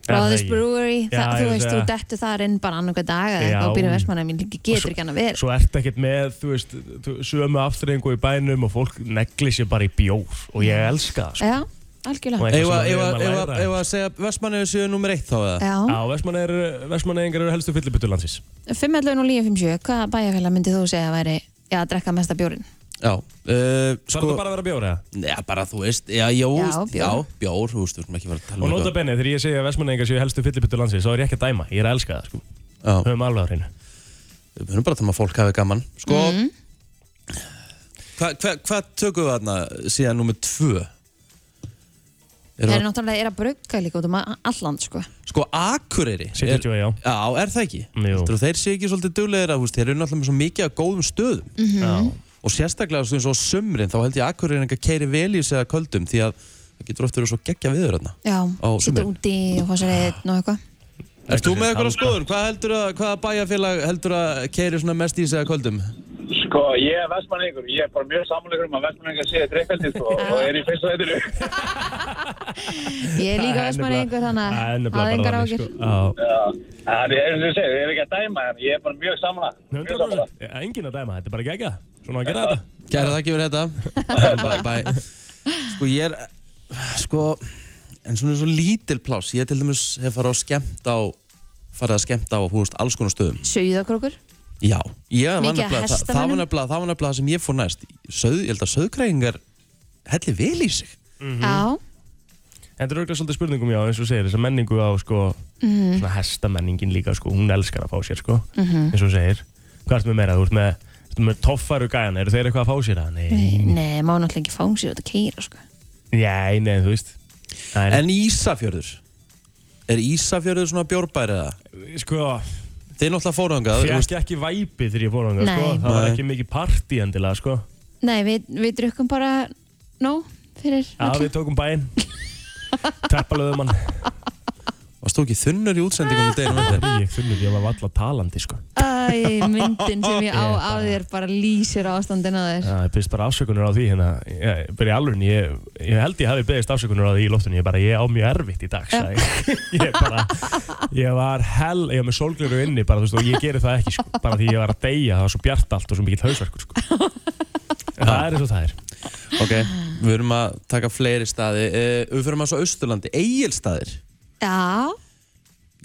S3: Já, það
S2: Brothers
S3: ekki.
S2: Brewery,
S3: Já,
S2: það, þú
S3: ég myndi
S2: veist, þú
S3: segja-
S2: dettu þar inn bara annarkað dag
S3: Já.
S2: eða þá býrðu versmanninga mín líka
S3: Og svo-
S2: getur ekki hann að vera sko.
S3: Svo ertu ekkert með, þú veist, þú- sömu afturrengu í bænum og fólk negli sér bara í bjór og ég elska það sko.
S2: Já, algjörlega
S3: Og eitthvað
S1: Eða
S3: sem við erum að læra.
S1: að segja Vestmanniðu séu nummer eitt þá eða?
S2: Já,
S3: Já, Vestmannegar- Vestmannegar eru helstu fyllibuttur landsins.
S2: 511 og 957, hvaða bæjarfélag myndið þú segja að væri já, að drekka mesta bjórin?
S1: Já, uh,
S3: Sko,
S1: sko
S3: það bara að vera bjór eða?
S1: Já, bara þú veist, já, já,
S2: Já, bjór.
S1: úst, já bjór, þú veist, við erum ekki að fara að
S3: Og
S1: tala um
S3: nota
S1: eitthvað.
S3: benni, þegar ég segja að Vestmannegar séu helstu fyllibuttur landsins, þá er ég ekki að dæma, ég er að elska það sko.
S1: Já,
S3: Höfum alveg á hreinu.
S1: við erum bara að tala um að fólk hafi gaman Sko mm. Hvað hva, hva tökum við þarna síðan nummer tvö?
S2: Það er
S1: Erum,
S2: náttúrulega, er að brugga líka út um a- alland, sko
S1: við- sko, Akureyri
S3: City
S1: er,
S3: Joy, já.
S1: Já, er það ekki?
S3: Jú.
S1: Heldur þeir séu ekki svolítið duglegir að, þú veist, þeir eru náttúrulega með svo mikið að góðum stöðum
S3: Já.
S1: og sérstaklega svona svo á sumrin þá held ég að Akureyringa keiri vel í sig að köldum því að það getur oft verið svo geggja viður hérna
S2: Já,
S1: Á
S2: sittu
S1: sumrin.
S2: úti og fá sér einn og eitthvað
S1: Erst þú með
S3: Þetta er
S1: eitthvað skoðun? Hvað heldur að, hvaða bæjarfélag heldur að keiri svona mest í sig að köldum?
S6: Sko, ég er vestmanningur, ég er bara mjög samanlegur um að vestmanningar séu dreifældi sko, og er í fyrsta veitinu.
S2: Ég er líka vestmanningur þannig að hafa engar ágjur
S3: sko. ákjör
S6: Það er eins og ég segir, ég er ekki að dæma en ég er bara mjög samanlega.
S3: 100% Engin að dæma, þetta er bara gegja Svona að gera þetta
S1: Kæra þakki fyrir þetta bye, bye. Sko ég er sko, en svona svo lítil pláss ég til dæmis hef farið á skemmt á farið að skemmta á húst alls konar stöðum
S2: Sauðakrókur
S1: Já, ég var
S2: Mikið af
S1: nefnilega það, það var
S2: hestamönnum?
S1: nefnilega það var nefnilega það sem ég fór næst Söð, ég held að söðkræðingar hellir vel í sig
S2: Já,
S3: En þetta er auðvitað svolítið spurningum já, eins og þú segir Þessa menningu á sko
S2: Mm. Mhm.
S3: Svona hestamenningin líka sko Hún elskar að fá sér sko Eins og þú segir Hvað ertu með meira? Þú ert með, ertu með toffaru gæjan Eru þeir eitthvað að fá sér það? Nei
S2: nei, má náttúrulega ekki fá sér út að keira, sko
S3: Nei, nei, þú veist Nei,
S1: En Ísafjörður Er Ísafjörður svona bjórbær eða?
S3: sko
S1: Þið er náttúrulega fórhangað
S3: Fekk ekki væpi þegar ég fór hanga sko
S2: Nei.
S3: Það var
S1: Nei.
S3: ekki mikið partí endilega sko
S2: Nei, við, við drukkum bara nóg fyrir
S3: Já,
S2: alla.
S3: við tókum bæinn Teppalöðum hann
S1: Varst þú ekki þunnur í útsendingum í deginum eftir?
S3: Ég finnur því að maður valla talandi sko
S2: Æ, myndin sem ég á
S3: Ég
S2: á þér bara lýsir ástandin á þér
S3: Já, ég byrst bara afsökunar á því hérna, ég, bara í alveg, ég, ég held ég hafi byrst afsökunar á því í loftunni, ég bara, ég á mjög erfitt í dag, sagði ég, ég bara, ég var hell, ég var með sólgleru inni bara, þú veist, og ég geri það ekki, sko, bara því ég var að deyja, það var svo bjart allt og svo mikill hausverkur, sko, en það er eins og það er,
S1: Ok, við erum að taka fleiri staði Eh, Við fyrir maður svo Austurlandi Egilstaðir,
S2: Já,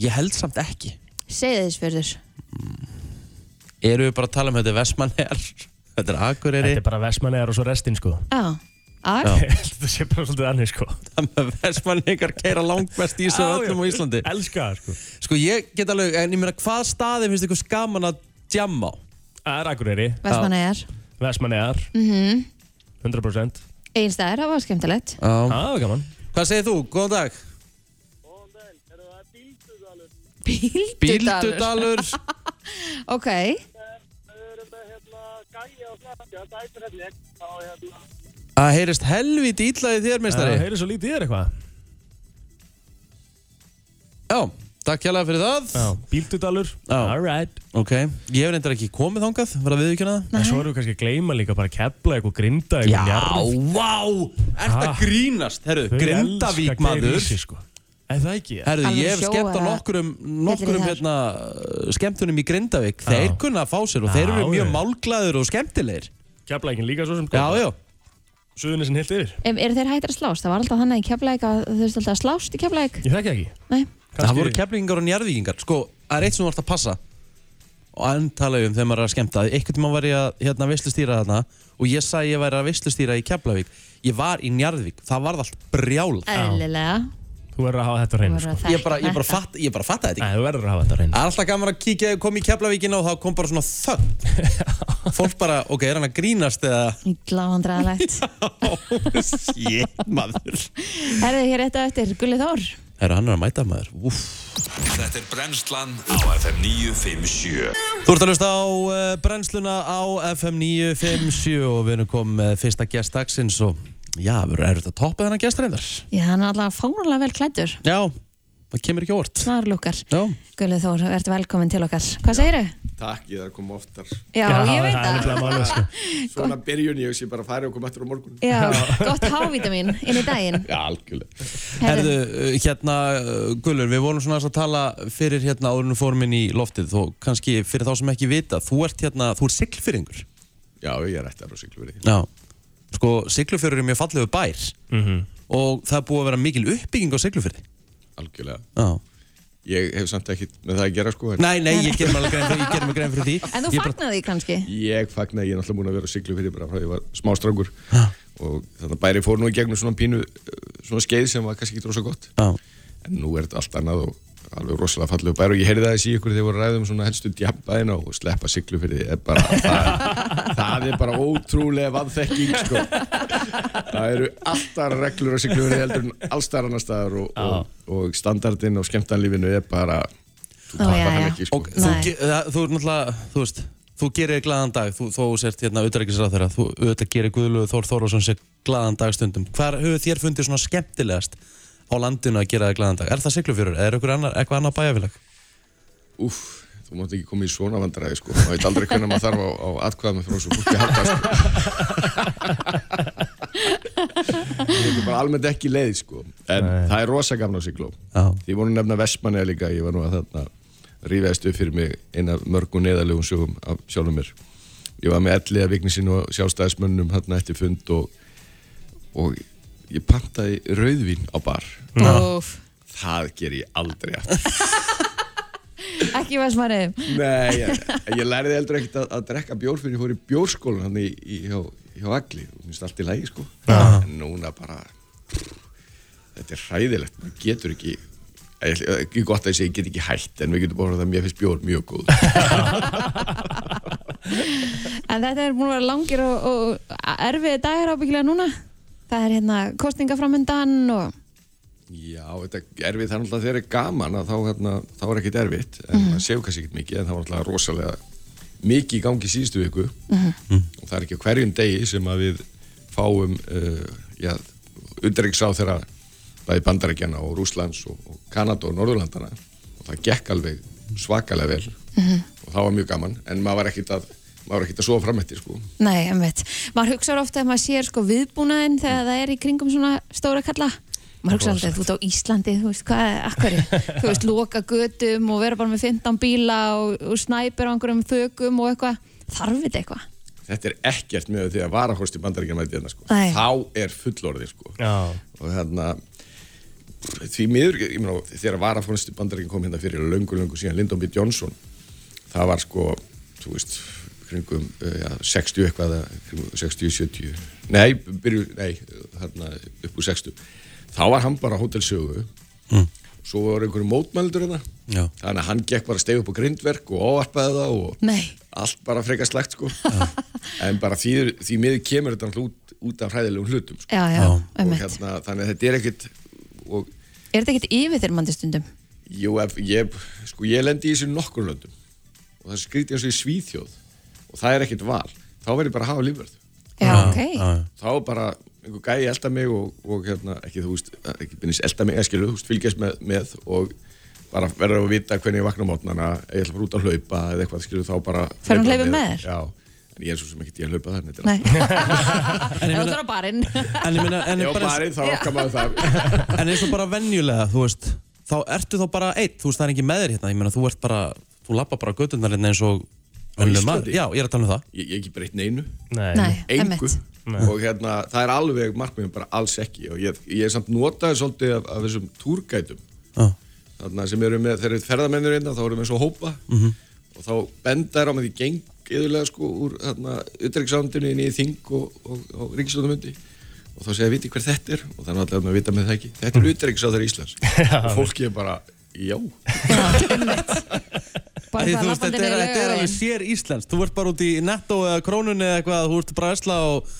S1: ég held samt ekki
S2: segðu þess fyrir þess
S1: Eru við bara að tala um þetta Vestmannegar Þetta er Akureyri
S3: þetta er bara vesmanegar og svo restin, sko,
S2: Já, að,
S1: Já.
S3: þetta sé bara svolítið annir, sko,
S1: Vestmannegar keira langmest í sig af öllum á Íslandi
S3: elska, það, sko,
S1: Sko ég get alveg, en ég meina hvað staði finnst ykkur skaman að djamma á?
S3: það er akureyri,
S2: vestmannegar
S3: vesmanegar, 100%,
S2: Einstæðar, Mhm. það var skemmtilegt
S1: Já.
S3: það var gaman,
S1: Hvað segir þú? Góðan dag
S2: Bíldudalur
S1: Bíldudalur
S2: Ok,
S6: Við erum með hérna gæja og snakka, dætur hefnig, og hérna,
S1: Það heyrist helviti illa í þér,
S3: Það
S1: meistari.
S3: heyri svo lítið þér eitthvað
S1: Já, takk hjálpa fyrir það.
S3: Já, Bíldudalur
S1: Já.
S3: Alright
S1: Ok, ég hef reyndar ekki komið þangað, var að viðvíkjana það?
S3: En svo erum við kannski að gleyma líka bara að kepla eitthvað grinda eitthvað njarð
S1: vá, ert
S3: Ah.
S1: grínast, herru, Grindavík maður.
S3: sko. En það ekki ja.
S1: Herru,
S2: Alveg
S1: ég hef
S2: sjóaða-
S1: skemmt á nokkurum, nokkurum
S2: Hellir í
S1: hérna, skemmtunum í Grindavík. Þeir kunna að fá sér og þeir
S3: Já,
S1: eru mjög
S3: já.
S1: málglæður og skemmtilegir.
S3: Kepla ekki líka svo sem
S1: Já, já.
S3: Suðunisinn heilt yfir
S2: Um, eru þeir hættir að slást? Það var alltaf þannig í keflæk að þú veist alltaf að slást í keflæk.
S3: Ég þekki það ekki
S2: Nei,
S1: Það voru keflingar og njarðvíkingar Sko, það er eitt sem þú ert að passa og enn tala ég um þegar maður er að skemmta einhvern tímann var ég að hérna, veslustýra þarna og ég sagði ég væri að veslustýra í Keflavík ég var í Njarðvík, það varð allt brjála
S2: eðlilega.
S3: Þú verður að hafa þetta á hreinu sko.
S1: ég bara, ég bara, fatt, ég bara fatta þetta ekki
S3: Nei, þú verður að hafa þetta á hreinu
S1: það er alltaf gaman að kíkja að kom í Keflavíkina og þá kom bara svona þögn fólk bara, ok, er hann að grínast eða
S2: Gláðandræðalegt.
S1: shit, maður
S2: Herðu hér eitt á eftir, Gulli Þór.
S1: herru, hann er að mæta maður Úff.
S5: Þetta er brennslan á FM 957
S1: Þú ert að hlusta á uh, brennsluna á FM 957 og við erum komið með fyrsta gest dagsins og já, við erum erfitt að toppa þennan gestrindar.
S2: Já, hann er alltaf fáránlega vel klæddur.
S1: Já, það kemur ekki óvart.
S2: Snar lukkar.
S1: Já,
S2: Gulli Þór, verður velkomin til okkar. Hvað segirðu?
S7: Takk, ég þarf að koma oftar.
S2: Já, ég veit
S3: Það er
S2: það.
S3: nefnilega málið sko.
S7: Svona byrjun ég sé bara að fara og koma eftir á morgun.
S2: Já, gott hávítamin inn í daginn.
S7: Já, algjörlega.
S1: herðu, uh, hérna, uh, Gullur, við vorum svona aðeins að tala fyrir hérna áðurinn formin í loftið og kannski fyrir þá sem ekki vita, þú ert hérna, þú ert siglfyrringur.
S7: Já, ég er eftir á Siglufjörði.
S1: Já. Sko, siglfyrringur er mjög fallegu bær
S7: Mhm.
S3: Mhm.
S1: og það er búið að vera mikil uppbygging á siglfyrði.
S7: Algjörlega.
S1: Já.
S7: Ég hef samt ekkert með það að gera sko. en
S1: Nei, nei, ég ger mér alveg grein fyrir, ég ger mér grein fyrir því.
S2: En þú
S1: Ég bara-
S2: fagnaði því kannski?
S7: Ég fagnaði, ég er náttúrulega múin að vera á Siglufjörði bara frá því ég var smástrákur.
S1: Já.
S7: Og þannig að bæri fór nú í gegnum svona pínu, uh, svona skeið sem var kannski ekki rosa gott.
S1: Já.
S7: En nú er þetta allt annað og alveg rosalega fallegu bæri og ég heyrði það í síkur þegar voru að ræða um svona helstu djabbaðina og sleppa Siglufjörði. er bara- Það, það er bara ótrúlega vaðþekking sko. Það eru alltaf reglur á siglufjörði heldur en allstar annar staðar og, og, og standardinn og skemmtanlífinu er bara þú
S2: Ó,
S7: tappar
S2: já,
S7: hann
S2: já.
S7: ekki sko.
S1: Og þú,
S2: Nei.
S1: ge- það- þú er náttúrulega, þú veist, þú gerir þér glaðan dag, þú, þú sért hérna auðrækisræðara, þú auðvitað gerir Guðlögu Þór Þórásson sér glaðan dag stundum. Hvar hefur þér fundið svona skemmtilegast á landinu að gera þér glaðan dag? Er það siglufjörur? Er ykkur annar, eitthvað annar bæjarfélag?
S7: Úff, þú mátt ekki koma í svona vandræði sko. maður veit aldrei hvernig maður þarf á, á atkvæðum frá svo fólki að halda sko. Þetta er bara almennt ekki leið sko. en það er rosa gafn á sigló
S1: Já.
S7: Því voru nefna Vestmanniða líka ég var nú að þarna rífiðast upp fyrir mig eina mörgu neðalegum sögum af sjálfum mér ég var með elliða vignisinn og sjálfstæðismönnum þarna eftir fund og, og ég pantaði rauðvín á bar
S2: Úf,
S7: það ger ég aldrei aftur
S2: ekki veist maður
S7: Nei, ég, ég lærði heldur ekkert að, að drekka bjór fyrir ég fór í bjórskólan hann í, í, hjá, hjá Agli og minnst allt í lægi sko en núna bara þetta er hræðilegt, maður getur ekki ég- ekki gott að ég segi, ég get ekki hætt en við getum bara að það mér finnst bjór mjög góð
S2: En þetta er búin að vera langir og, og erfiði dagar ábyggilega núna. Það er hérna kostningaframöndan og
S7: Já, þetta er erfið, það er náttúrulega þegar er gaman að þá, hérna, þá er ekkert erfitt en maður séu kannski ekkert mikið en það var náttúrulega rosalega mikið í gangi síðustu viku og það er ekki á hverjum degi sem að við fáum uh, já, undirriksá þeirra bæði bandarækjana og Rúslands og, og Kanada og Norðurlandana og það gekk alveg svakalega vel
S2: Mhm.
S7: og það var mjög gaman en maður var ekkert að maður var ekkert að sofa fram eftir sko
S2: Nei, einmitt. Maður hugsar ofta að maður sér sko viðbúnaðinn
S1: Mm.
S2: þegar það er í kringum svona stóra kalla. Maður hugsar alltaf að þú ert á Íslandi, þú veist hvað, akkur, þú veist, loka götum og vera bara með 15 bíla og, og snæpir á einhverjum þökum og eitthvað. Þarf þetta eitthvað?
S7: þetta er ekkert með því að varahorst í bandarækjana mæti hérna sko,
S2: Nei.
S7: þá er fullorðið sko
S3: Já
S7: og hérna því miður, ég meina, þegar varafónusti bandaríkinn kom hérna fyrir löngu, löngu síðan Lyndon B. Johnson, það var sko þú veist, kringum eh, já, 60 eitthvað, eða kringum 60, 70 nei, byrju, nei hérna, upp úr 60 þá var hann bara á hótelsögu svo var einhverjum mótmældur hérna
S1: Já.
S7: þannig að hann gekk bara steg upp á grindverk og áarpaði það og
S2: Nei.
S7: allt bara frekar slægt sko en bara því, því miður kemur þetta náttúrulega út, út af hræðilegum hlutum sko
S2: Já, já,
S1: Já,
S7: og
S2: einmitt.
S7: hérna, þannig að þetta er ekkert og
S2: Er þetta ekkert yfirþyrmandi stundum?
S7: jú, ef, ég, sko, ég lendi í þessu nokkur löndum og það skríti eins og í Svíþjóð og það er ekkert val, þá verður bara að hafa lífverð
S2: Já, ok.
S7: þá bara einhver gæi elda mig og, og hérna, ekki þú veist, ekki byrjast elda mig, eskilu, þú veist, fylgjast með, með og bara verður að vita hvernig ég vakna á mótnana, ég ætla að fara út að hlaupa eða eitthvað, skilu, þá bara...
S2: Fer hún að
S7: hlaupa
S2: hlaupa með þér?
S7: Já, en ég er svo sem ekki ég að hlaupa þarna, þetta er
S2: Nei,
S7: allt.
S2: það er á barinn.
S1: En ég meina, en,
S7: Já,
S1: bara,
S7: barinn, þá okkar maður það.
S1: en eins og bara venjulega, þú veist, þá ertu þá bara einn, þú veist, það er engin með þér hérna, ég meina, þú ert bara, þú lappa bara götturnar hérna eins og venjuleg maður.
S7: Íslandi?
S1: Já, ég er að tala um það.
S7: Ég, ég hef ekki breytt neinu,
S2: Nei,
S7: engu.
S2: emmitt.
S7: Og hérna, það er alveg markmiðum bara alls ekki og ég, ég er samt notaði svolítið af, af þessum túrgætum
S1: Já.
S7: þarna sem eru með, þeir eru ferðamennir einna, þá eru með svo hópa
S1: Mhm.
S7: og þá benda er á með því geng yfirlega sko úr þarna utryggsandinu inn í þing og, og, og ríkislandumundi og þá segja, viti hver þetta er og þannig allir að maður vita með það ekki þetta
S3: Mm.
S7: er utryggsandar Íslands og fólki er bara, já
S2: Bara það
S1: Því, þú veist,
S2: labbandi
S1: þetta er,
S2: niður
S1: þetta er alveg
S2: Laugaveginn.
S1: sér Íslands. Þú ert bara út í netto eða krónunni eða eitthvað, þú ert bara að esla og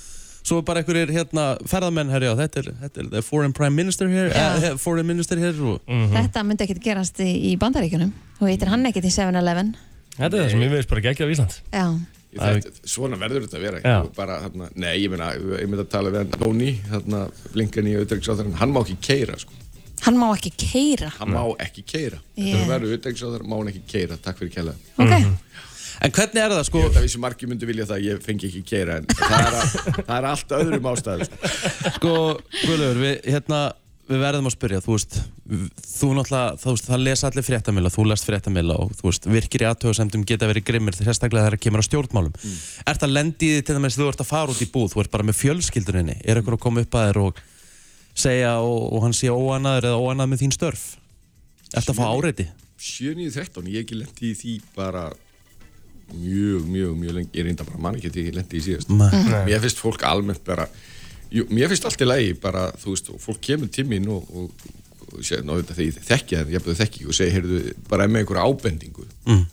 S1: svo er bara einhverjir hérna ferðamenn herja og þetta er, þetta er the foreign prime minister here, eh, foreign minister here og...
S2: Þetta myndi ekkert gerast í, í bandaríkjunum. Þú heitir hann ekkert í 7-Eleven.
S3: Þetta er það sem ég veist bara geggja af Ísland
S2: Já,
S7: Ég Þetta, svona verður þetta að vera
S3: Já.
S7: Ég bara, þarna, nei, ég meina, ég myndi að tala við hann Lóni, þarna, blinkan í utryggsandar hann má ekki keira, sko,
S2: hann má ekki keira.
S7: hann má ekki keira
S2: Yeah.
S7: þetta verður utryggsandar, má hann ekki keira takk fyrir kælega
S2: Ok,
S1: Mhm. En hvernig er það, sko,
S7: Ég veit að vissi margir myndu vilja það að ég fengi ekki keira en það er, að, það er allt öðrum ástæðu sko.
S1: sko, Guðlaugur, við, hérna, við verðum að spyrja, þú veist, þú náttúrulega, þú veist, það lesa allir fréttamila, þú lest fréttamila og, þú veist, virkir í aðtöðasemdum geta verið grimmir, sérstaklega þegar það kemur á stjórnmálum. Mm. Er það lendiði til dæmis þú ert að fara út í búð, þú ert bara með fjölskylduninni, er eitthvað að koma upp að þér og segja og, og hann sé óanaður eða óanað með þín störf? Er það að fá áreiti?
S7: 7.9.13, ég hef ekki lendi í því bara mjög, mjög, mjög lengi ég reynda bara mann ekki að ég lendi í síðast
S1: Nei.
S7: Mér finnst fólk almennt bara jú, Mér finnst allt í lagi bara, þú veist, og fólk kemur til mín og, og, og sé, ná, þetta, þegar ég þekki það, ég hafði þekki og segi, heyrðu, bara með einhverja ábendingu mm.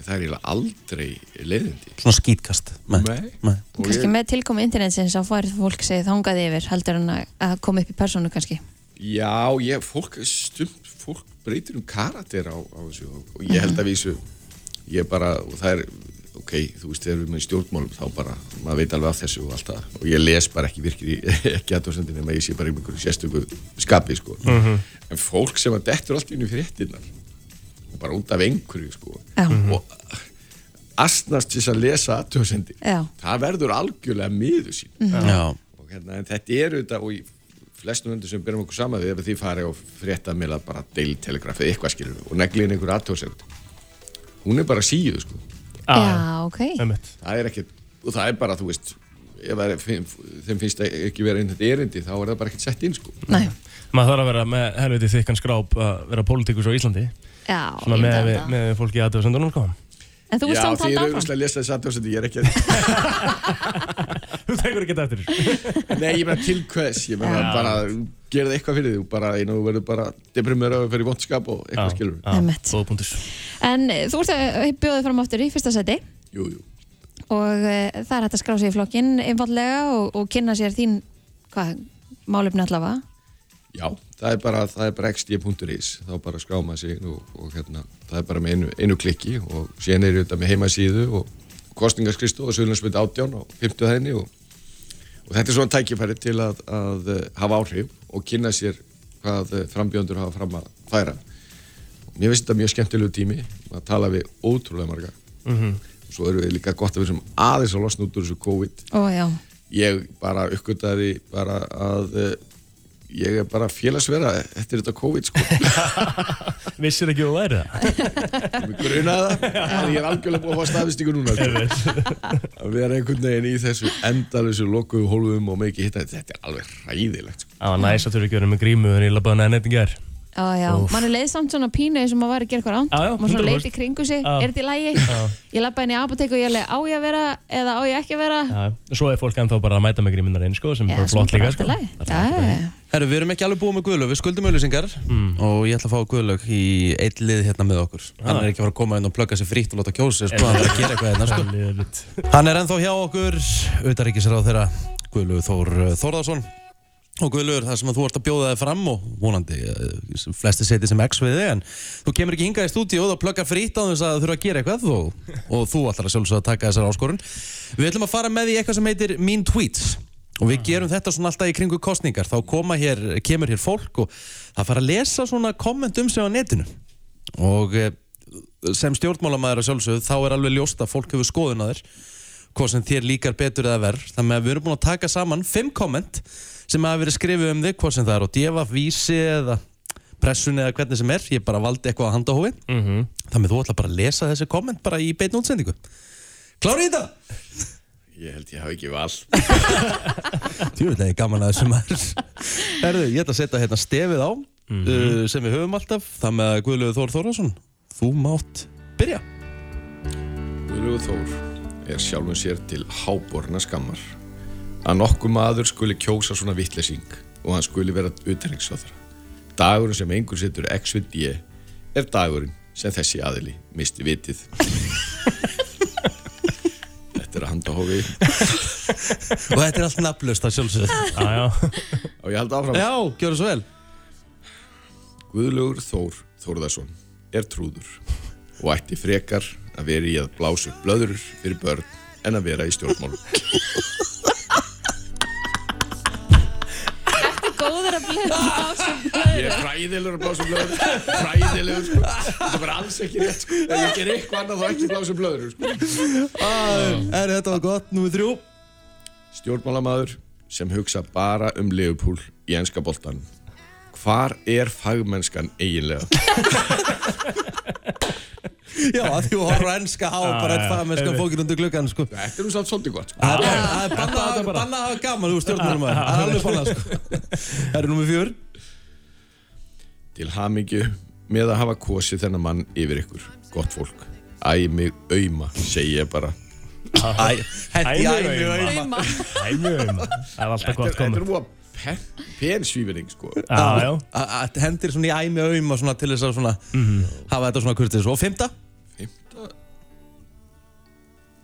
S7: Það er eiginlega aldrei leiðindi
S1: Svona skýtkast?
S7: Nei.
S1: Nei.
S7: Og
S2: kannski
S7: ég-
S2: með tilkomi internetsins að færð fólk segið þangað yfir, heldur hann að- að koma upp í persónu kannski.
S7: Já, ég, fólk, stumt, fólk breytir um karakter á, á þessu og, og ég held að vísu, ég bara, og það er, ok, þú veist, þegar við erum með stjórnmálum þá bara, maður veit alveg af þessu og allt það og ég les bara ekki virkir í, ekki aðdóðsendin nema ég sé bara í einhverju sérstöku skapi, sko.
S3: Mm. Mhm.
S7: En fólk sem að dettur allt í einu fréttinnar, bara út af einhverju, sko,
S2: Já.
S7: og astnast þess að lesa aðdóðsendin,
S2: Já.
S7: það verður algjörlega miður sín
S1: Já.
S7: og hérna, en þetta er auðvitað og í flestum hundur sem byrjum okkur saman við ef þið farið á fréttamila bara Daily Telegraph eða eitthvað skilur og negliðin einhver aðtóðsend hún er bara síðu sko
S3: Ah,
S2: Já, ok.
S3: Emmett
S7: það er ekkert, og það er bara þú veist ef það er, finn- þeim finnst það ekki vera inn þetta erindi þá er það bara ekkert sett inn sko
S2: Nei,
S3: Maður þarf að vera með helviti þykkan skráp að vera pólitíkus á Íslandi
S2: já,
S3: Svona
S2: ég
S3: með,
S2: veit
S3: með,
S2: það.
S3: með fólki aðtöðu sendunum sko
S2: En þú veist
S7: Já,
S2: hann
S7: þið
S2: talt
S7: eru
S2: áfram.
S7: auðvitað að lesa þessi aðtóðsend ég er ekki að,
S3: Þú tekur ekki eftir þessu
S7: nei ég meina til hvers ég meina
S3: Já.
S7: bara gera það eitthvað fyrir þig bara, einu, þú verður bara deprimur að fyrir vondskap og eitthvað skilur
S2: Einmitt.
S3: Góð punktus
S2: En eh, þú ert að bjóða fram aftur í fyrsta seti
S7: jú, jú.
S2: og uh, það er hægt að skrá sig í flokkinn einfallega og, og kynna sér þín hvað, málefni allavega.
S7: Já, það er bara, það er bara xd.is, þá bara skráma sig inn og, og hérna, það er bara með einu, einu klikki og síðan er þetta með heimasíðu og kostningarskristu og söðlandsmynd 18 og 50 þenni og, og þetta er svona tækifæri til að, að eh, hafa áhrif og kynna sér hvað eh, frambjóndur hafa fram að færa. Mér finnst þetta mjög skemmtilegu tími, maður tala við ótrúlega marga
S3: Mhm.
S7: og svo eru við líka gott að við sem aðeins að losna út úr þessu COVID
S2: Ó já,
S7: ég bara uppgötaði bara að eh, ég er bara félagsvera eftir þetta COVID sko,
S3: Vissir ekki þú væri það
S7: mig grunaði það en ég er algjörlega búin að fá staðvistingu núna sko. að vera einhvern veginn í þessu endalösu lokuðu hólfum og með ekki hitta þetta er alveg ræðilegt sko.
S3: Það var næs að þú ekki verið með grímu en ég labbaði neðan eitthvað gær
S2: ó já,
S3: Úff.
S2: mann er leið samt svona pínu eins og maður var að gera eitthvað ánd,
S3: Já, Ah. já,
S2: maður svona
S3: 100%.
S2: leit í kringu sig,
S3: Já.
S2: er þetta í lagi? Ég lappa inn í apotek og ég leið á ég að vera eða á ég ekki að vera?
S3: Já, Svo er fólk ennþá bara að mæta með grímunar einn sko sem er bara
S2: sem bara
S3: flott líka
S2: allt í
S3: sko
S2: lagi. Já, já, já.
S1: Herru, við erum ekki alveg búið með Guðlaug, við skuldum auðlýsingar og ég ætla að fá Guðlaug í eitt lið hérna með okkur. Hann er ekki að fara að koma inn og plugga sér frítt og láta kjósa sér, sko, hann er að gera eitthvað hérna, sko.
S3: Liðurvitt
S1: Hann er ennþá hjá okkur, utaríkisráð þeirra, Guðlaug Þór eh, Þórðarsson. Og Guðlaugur, það sem að þú ert að bjóða þig fram og vonandi, eh, sem flesti seti sem X við þig en þú kemur ekki hingað í stúdíu og þá plugga frýtt á þess að þú þurfa að gera eitthvað og, og þú ætlar að sjálfsögða að taka þessar áskorun Við ætlum að fara með í eitthvað sem heitir Mean Tweets og við gerum þetta svona alltaf í kringu kostningar þá koma hér, kemur hér fólk og það fara að lesa svona komment um sig á netinu og eh, sem stjórnmálamæður að sjálfsögðu þá er alveg ljóst að fólk hefur skoðun að þér hvað sem þér líkar betur eða verð þannig að við erum búin að taka saman fimm komment sem hafa verið skrifið um þig hvað sem það er og djefa, vísi eða pressun eða hvernig sem er, ég bara valdi eitthvað að handa hófi þannig að þú ætla bara að lesa þessi komment bara í beinu útsendingu Klárið í þetta?
S7: Ég held ég hafi ekki val
S1: Tjúfilega gaman að þessu maður Herðu, ég ætla að setja hérna stefið á uh, sem við höfum alltaf það með Guðlaugur Þór Þórðarsson Þú mátt byrja
S7: Guðlaugur Þór er sjálfum sér til háborna skammar að nokkuð maður skuli kjósa svona vittlesing og hann skuli vera utanriksfáður dagurinn sem einhver setur X við D er dagurinn sem þessi aðili misti vitið Þetta er að handa hófi
S1: og þetta er allt nafnlaust að sjálfsögðu
S3: Já, já.
S7: og ég held áfram
S1: Já, gjörðu svo vel
S7: Guðlaugur Þór Þórðarsson er trúður og ætti frekar að vera í að blása upp blöður fyrir börn en að vera í stjórnmálum.
S2: Góður að blöða ásum
S7: Ég er fræðilegur að blása upp blöður, fræðilegur, sko. Þetta er bara alls ekki rétt, sko. Ef ég ger eitthvað annað þá ekki blása upp blöður, sko.
S1: Er þetta var gott, númið þrjú
S7: Stjórnmálamaður sem hugsa bara um Leopold í enska boltan. Hvar er fagmennskan eiginlega?
S1: Já, að því þú horfður ennska á bara eitt
S3: já,
S1: fagmennskan
S3: einmitt.
S1: fókin undir gluggan, sko.
S7: Þetta er nú samt svolítið gott, sko.
S1: Það er- það er bannað að
S3: bara.
S1: bannað að hafa gaman, þú stjórnum maður. Það er alveg bannað, sko. Það eru nummið fjör.
S7: Til hamingju með að hafa kosið þennan mann yfir ykkur, gott fólk. Æ mig auðma, segi ég bara.
S1: Æ, hætti
S3: Æ,
S1: æmi
S3: mig
S1: og
S3: auma.
S1: æma.
S3: Æmum. Það er alltaf gott
S7: Þetta er
S3: komið.
S7: múið pen, pen svífinning, sko.
S3: Já,
S1: Ah,
S3: já.
S1: Það hendir svona í æmi og æma svona til þess að svona hafa þetta svona kurtið. Og fymta,
S7: Fymta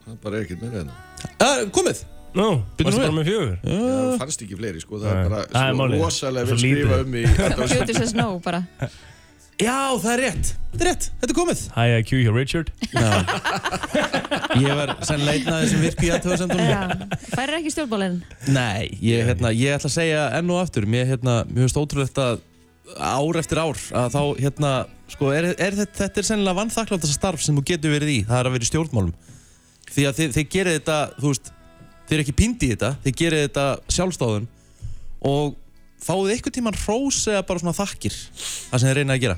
S7: Það bara er ekkert meira en
S1: Eh, komið.
S3: Nú, varstu
S1: nú
S3: bara
S1: við.
S3: með fjögur?
S7: það fannst ekki fleiri sko það er
S3: Nei.
S7: bara
S3: Það er
S7: svo
S3: málið.
S7: rosalega
S3: Svo
S7: vel skrifa
S3: lítið.
S7: um mig þetta var
S2: Fjötur sem snó bara
S1: Já, það er rétt. Þetta er rétt. Þetta er komið.
S3: Hi IQ hjá Richard.
S1: Ég var senn leitnaði sem virku í aðtöðasendunum.
S2: Já. Færir ekki stjórnbólinn
S1: Nei, ég, hérna, ég ætla að segja enn og aftur Mér, hérna, mér finnst ótrúlegt að ár eftir ár að þá, hérna, sko, er, er þetta, þetta er sennilega vannþakklátt starf sem þú getur verið í það er að vera í stjórnmálum því að þið, þið gerir þetta, þú veist þið er ekki pindi í þetta, þið gerir þetta sjálfstáðun og fáið eitthvað tíman hrós eða bara svona þakkir það sem þið reyna að gera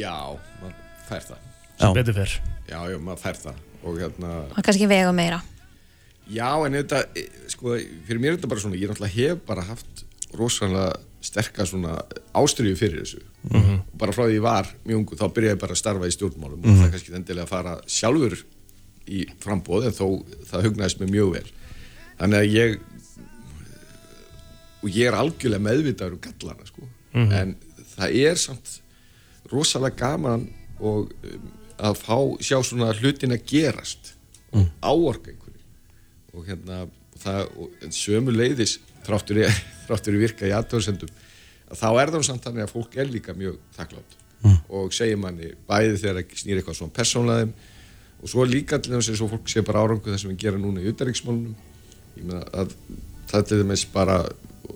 S7: já maður fær það
S1: Já,
S3: Betur fyrr.
S7: já já maður fær það og hérna
S2: Og kannski vega meira
S7: já en þetta e, sko fyrir mér er þetta bara svona ég náttúrulega hef bara haft rosalega sterka svona ástriðu fyrir þessu
S3: Mhm.
S7: og bara frá því ég var mjög ungu þá byrjaði ég bara að starfa í stjórnmálum og það er kannski endilega að fara sjálfur í frambóð en þó það hugnaðist mér mjög vel þannig að ég og ég er algjörlega meðvitaður um gallana sko. en það er samt rosalega gaman og um, að fá sjá svona hlutin að gerast og áorka einhverju og hérna og það, og, en sömu leiðis þráttur ég, þráttur ég virka í aðtöðsendum að þá er það nú samt þannig að fólk er líka mjög þakklátt og segir manni bæði þegar það snýr eitthvað svona persónlegaðum og svo líka til þess að svo fólk sé bara árangu það sem við gera núna í utanriksmálunum ég meina að það til dæmis bara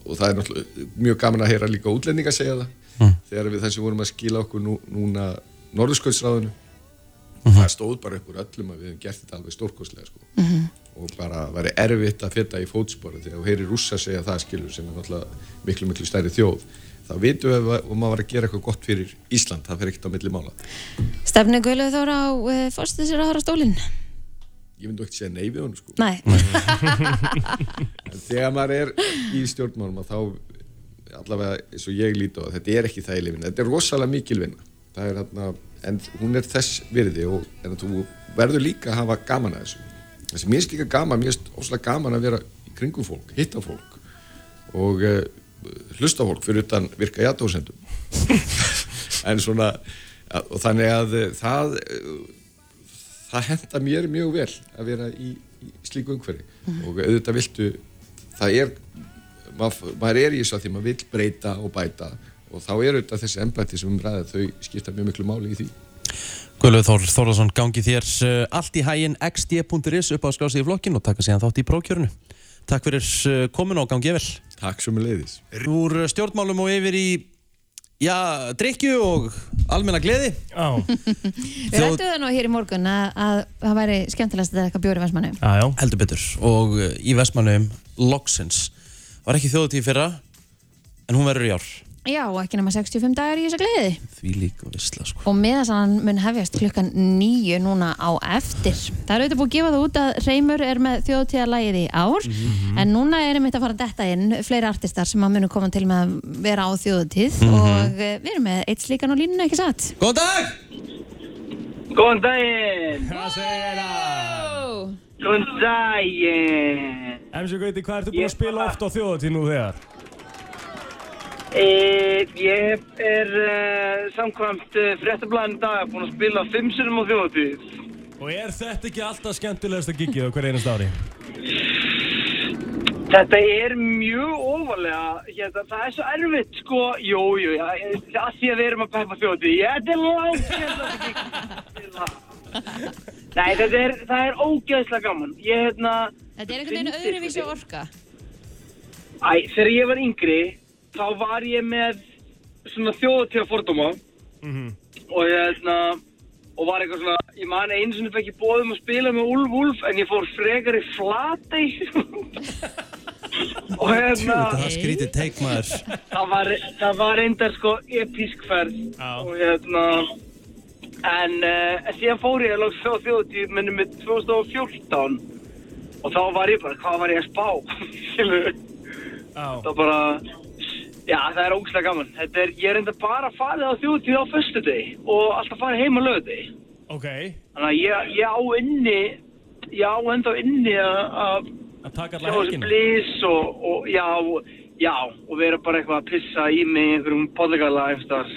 S7: og það er náttúrulega mjög gaman að heyra líka útlendinga segja það þegar við þessi vorum að skila okkur nú, núna norðursköldsráðinu það stóð bara upp úr öllum að við hefum gert þetta alveg stórkostlega sko. og bara væri erfitt að feta í fótspora þegar þú heyrir rússa segja það skilur sem er náttúrulega miklu miklu stærri þjóð þá vitum við að- og maður var að gera eitthvað gott fyrir Ísland, það fer ekkert á milli mála
S2: Stefni Guðlaug Þóra á uh, fórstu sér að horra stólinn
S7: ég myndi ekki segja nei við honum sko.
S2: Nei,
S7: En þegar maður er í stjórnmálum að þá allavega eins og ég líti á það, þetta er ekki þægileg vinna, þetta er rosalega mikil vinna það er hérna, en hún er þess virði og en þú verður líka að hafa gaman að þessu þessi mér er líka gaman, mér er óslega gaman að vera í kringum fólk, hitta fólk og uh, hlusta á fólk fyrir utan virka játdósendum en svona að- og þannig að eh, það eh, það henda mér mjög vel að vera í, í slíku umhverfi og auðvitað viltu það er maður maður er í þessu að því maður vill breyta og bæta og þá eru þetta þessi embætti sem um umræða þau skipta mjög miklu máli í því
S1: Guðlaug Þór Þórðarsson gangi þér uh, allt í hægin xd.is upp á skrási í flokkin og taka síðan þátt í prókjörnu. Takk fyrir uh, komin og gangi vel.
S7: Takk sem er leiðis
S1: Úr uh, stjórnmálum og yfir í, já, drikju og almenna gleði.
S3: Já,
S2: Við rættum það nú hér í morgun að, að það væri skemmtilegast að þetta bjóri vestmannu.
S3: já, já.
S1: Heldur betur. Og uh, í vestmannum, Loxins. Var ekki þjóðutíð í fyrra, en hún verður í ár.
S2: Já, og ekki nema 65 dagar í þessa gleði.
S1: Því líka vissla, sko.
S2: Og miðasann mun hefjast klukkan nýju núna á eftir. Það er auðvitað búið að gefa það út að Reymur er með þjóðtíðalagið í ár,
S1: Mhm.
S2: en núna er einmitt að fara að detta inn fleiri artistar sem að munu koma til með að vera á þjóðtíð og eh, við erum með eitt slíkan og línuna ekki satt.
S1: Mhm. Góðan dag!
S8: Góðan daginn!
S3: Hvað segir það?
S8: Góðan daginn!
S3: MC Gauti, hvað ertu búin
S8: Ég
S3: að spila
S8: bara-
S3: oft á þjóðatíð nú þegar?
S8: E, ég er uh, samkvæmt uh, fréttablaðin í dag búinn að spila fimm sinnum á þjóðatíð.
S3: Og er þetta ekki alltaf skemmtilegasta gigið á hver einast ári?
S8: Þetta er mjög óvalega, hérna, það er svo erfitt sko, jú, jú, já, það sé að við erum að peppa þjóðatíð, ég, þetta er langt hérna að spila. Nei, þetta er, það er ógeðslega gaman. Ég, hérna,
S2: Þetta er einhvern veginn öðruvísi orka.
S8: æ, þegar ég var yngri, þá var ég með svona þjóðatíða fordóma. og hérna og var eitthvað svona, ég man einu sinni fekk ég bóðum að spila með Ulf Ulf en ég fór frekar í flatei og hérna
S1: Þetta það skrítið teikmaður.
S8: það var, það var reyndar sko episk ferð
S3: Já.
S8: og hérna en uh, síðan fór ég langs á þjóðtíð minni með 2014 og þá var ég bara, hvað var ég að spá skilur
S3: Já.
S8: það bara, já það er ógslag gaman þetta er, ég er enda bara að fara á þjóðtíð á föstudegi og alltaf fara heim á lögudegi
S3: Ok,
S8: Þannig að ég, ég á inni, ég á enda inni að- að
S3: að taka
S8: sjá
S3: alla
S8: þessu
S3: helgina.
S8: blís og, og já, já, og vera bara eitthvað að pissa í mig í einhverjum bollagalla eftir.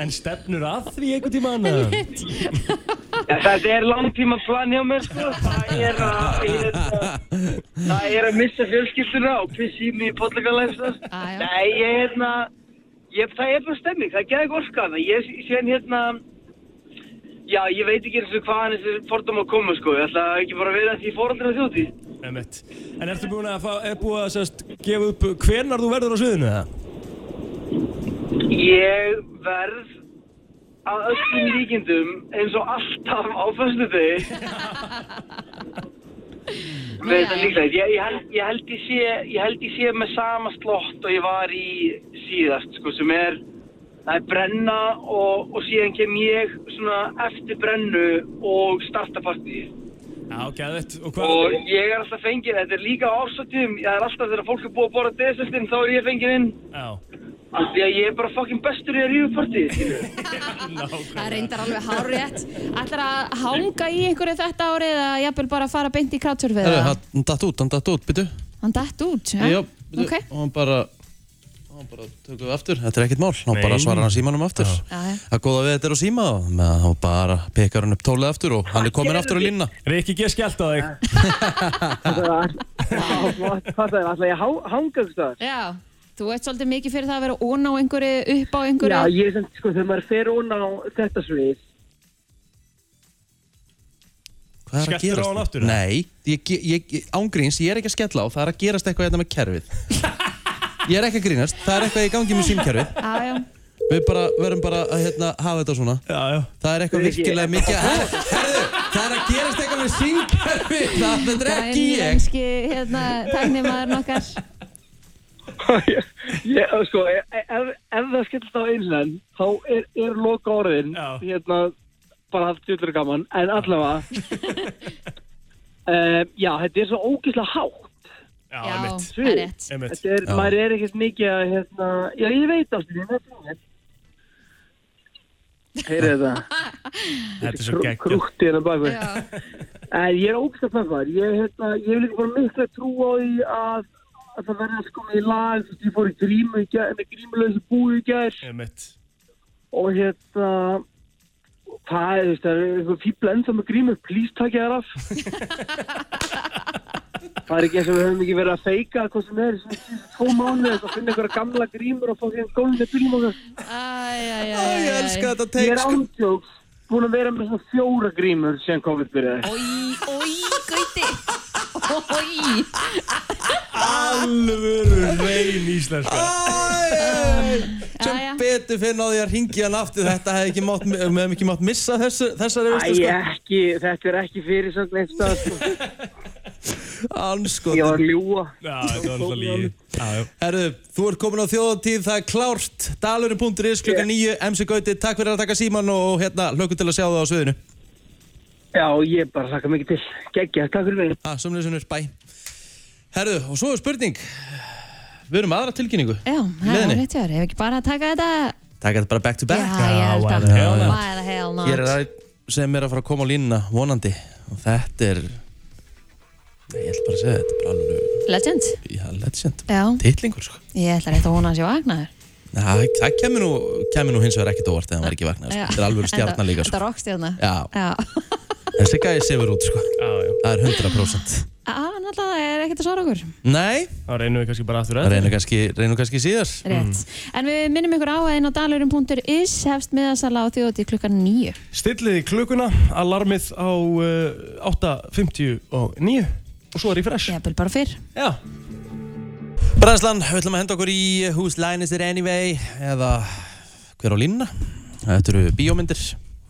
S3: En stefnur að því einhvern tíma annað?
S8: Ja, þetta er langtíma plan hjá mér, sko. Það er að, ég er að, það er að missa fjölskylduna og pissa í mig í bollagalla eftir.
S2: Já, já.
S8: Nei, ég er hérna, ég, það er bara stemming, það gerði ekki orka hana. Ég sé hann hérna, já, ég veit ekki eins og hvaðan þessi fordóma koma, sko. Ég ætla ekki bara að vera því fóröldra þjótið.
S3: Emmett. En ertu búin að, fá, er búin að sest, gefa upp hvenar þú verður á sviðinu eða?
S8: Ég verð að öllum líkindum eins og alltaf á föstu degi. Veit það líklega, ég, ég, held, ég, held ég, sé, ég held ég sé með sama slott og ég var í síðast, sko, sem er, það er brenna og, og síðan kem ég svona eftir brennu og starta partíð.
S3: Já, gæðvett. Og
S8: Og
S3: hvað?
S8: ég er alltaf fengið, þetta er líka á ásatíðum, það er alltaf þegar fólk er búið að borða desertinn, þá er ég fengið inn.
S3: Já,
S8: Af því að ég er bara fucking bestur í að rífa partíð, skilur.
S2: Það reyndar alveg hárétt. Ætlar að hanga í einhverju þetta árið eða jafnvel bara fara beint í krátsurfið?
S1: Herru, Hann datt út, hann datt út, byttu.
S2: Hann datt út, já?
S1: Jó, byttu.
S2: Ok.
S1: Og hann bara, hann bara tökum við aftur. Þetta er ekkert mál, hann
S3: Nei.
S1: bara svarar hann símanum aftur.
S2: Já, já.
S1: Það góða við þetta er á síma og með að hann bara pekar hann upp tólið aftur og hann er komin aftur á línna.
S3: Rikki, ég skellt á þig.
S8: Já, flott, hvað það er, alltaf ég há- hanga einhvers staðar.
S2: Já, þú ert svolítið mikið fyrir það að vera ón á einhverju, upp á einhverju.
S8: Já, ég sem, sko, þegar maður fer ón á þetta svið,
S1: Hvað er að
S3: Skelltirðu á
S1: gerast?
S3: hann aftur, eða?
S1: Nei, ég, ge- ég, ég, ángríns, ég er ekki að skella á, það er að gerast eitthvað hérna með kerfið. Ég er ekki að grínast, það er eitthvað í gangi með símkerfið.
S2: Já, já.
S1: Við bara, verum bara að hérna, hafa þetta svona.
S3: Já, já.
S1: Það er eitthvað virkilega mikið Herðu, herðu, það er að gerast eitthvað með syngkerfi Það þetta er ekki ég
S2: Grænlenski, hérna, tæknir maður nokkar.
S8: ég, sko, ef, ef það skilst á einhvern, þá er, er loka orðin,
S3: Já.
S8: hérna, bara haft djúllur gaman, en allavega, um, já, þetta er svo ógeðslega hátt,
S3: Já,
S2: Já,
S3: Emmett.
S2: það er rétt.
S3: Emmett.
S8: þetta er,
S1: Já.
S8: maður er ekkert mikið að, hérna, já, ég veit ástæðin, þetta er mér. Heyrðu þetta,
S3: Þetta er svo geggjum.
S8: krútti hérna bak við.
S2: Já,
S8: En ég er ógst að peppar. Ég, hérna, ég hef líka bara mikla trú á því að, að það verða sko með í lag. Þú veist, ég fór í grímu í gær, með grímulösu búi í gær
S3: Emmett.
S8: og hérna, hvað er þetta? Það er eitthvað fíbl ennþá með grímu. Please takja þér af. Það er ekki eins og við höfum ekki verið að feika hvað sem er, sem er tvo mánuði og finna einhverja gamla grímur og fá því að gólunni bílum og þess.
S1: Æ, ég elska þetta
S8: Ég
S1: teik
S8: er
S1: sko.
S8: ándjóks búin að vera með svona fjóra grímur sem COVID byrjaði.
S2: Ói, ói, gauti Ói
S3: Alvöru reyn íslenska
S1: Æ,
S2: Jæja.
S1: Sem betur fyrir náði ég að ringi hann aftur Þetta hefði ekki mátt, við hefum ekki mátt missa þessu, þessari
S8: Æ,
S1: veislu sko
S8: ekki, þetta er ekki fyrir samt neitt stað, sko.
S1: Anskot
S8: Ég var að ljúa.
S3: Já, þetta var alltaf lígi Já, já
S1: Herðu, þú ert komin á þjóðantíð, það er klárt Dalurinn.is klukkan 9, MC Gauti Takk fyrir að taka síman og hérna hlökkum til að sjá það á sviðinu
S8: Já, ég bara þakka mikið til. Gekkja, takk fyrir mig.
S1: ah, Sumleysunir, bæ Herðu, og svo er spurning Við erum aðra tilkynningu
S2: Já, það er
S1: Leðinni.
S2: rétt hjá þér, ef ekki bara að taka þetta
S1: Takk þetta bara back to back
S2: Já, ég held að
S3: why the hell not?
S2: Why the hell not
S1: Hér er aðeins sem er að fara að koma á línuna vonandi og þetta er Nei, ég ætla bara að segja, þetta er bara alveg
S2: Legend
S1: já, legend,
S2: Já,
S1: titlingur sko
S2: ég ætla rétt að vona að sé vaknaður
S1: Næ, það kemur nú, kemur nú hins vegar ekkert óvart eða hann var ekki vaknað, sko.
S2: Já.
S1: þetta er alveg stjarnar líka
S2: Þetta
S1: sko.
S2: er rockstjarnar
S1: Já,
S2: Já,
S1: þessi gæði sefur út sko
S3: Já, já
S1: Það er
S2: Á,
S1: 100%
S2: Ah, náttúrulega það er ekkert að svara okkur
S1: Nei,
S3: Þá reynum við kannski bara aftur
S1: það
S3: að
S1: reynir kannski, reynir kannski síðar
S2: Rétt.
S3: Mm.
S2: En við minnum ykkur á að inn á dalurum.is hefst miðasala á þjóti klukkan nýju.
S3: Stilliði klukkuna, alarmið á uh, 8.59 og svo er ég fresh
S2: Ég hefði bara fyrr.
S3: Já
S1: Brænslan, við ætlum að henda okkur í Whose Line Is It Anyway eða hver á línuna Þetta eru bíómyndir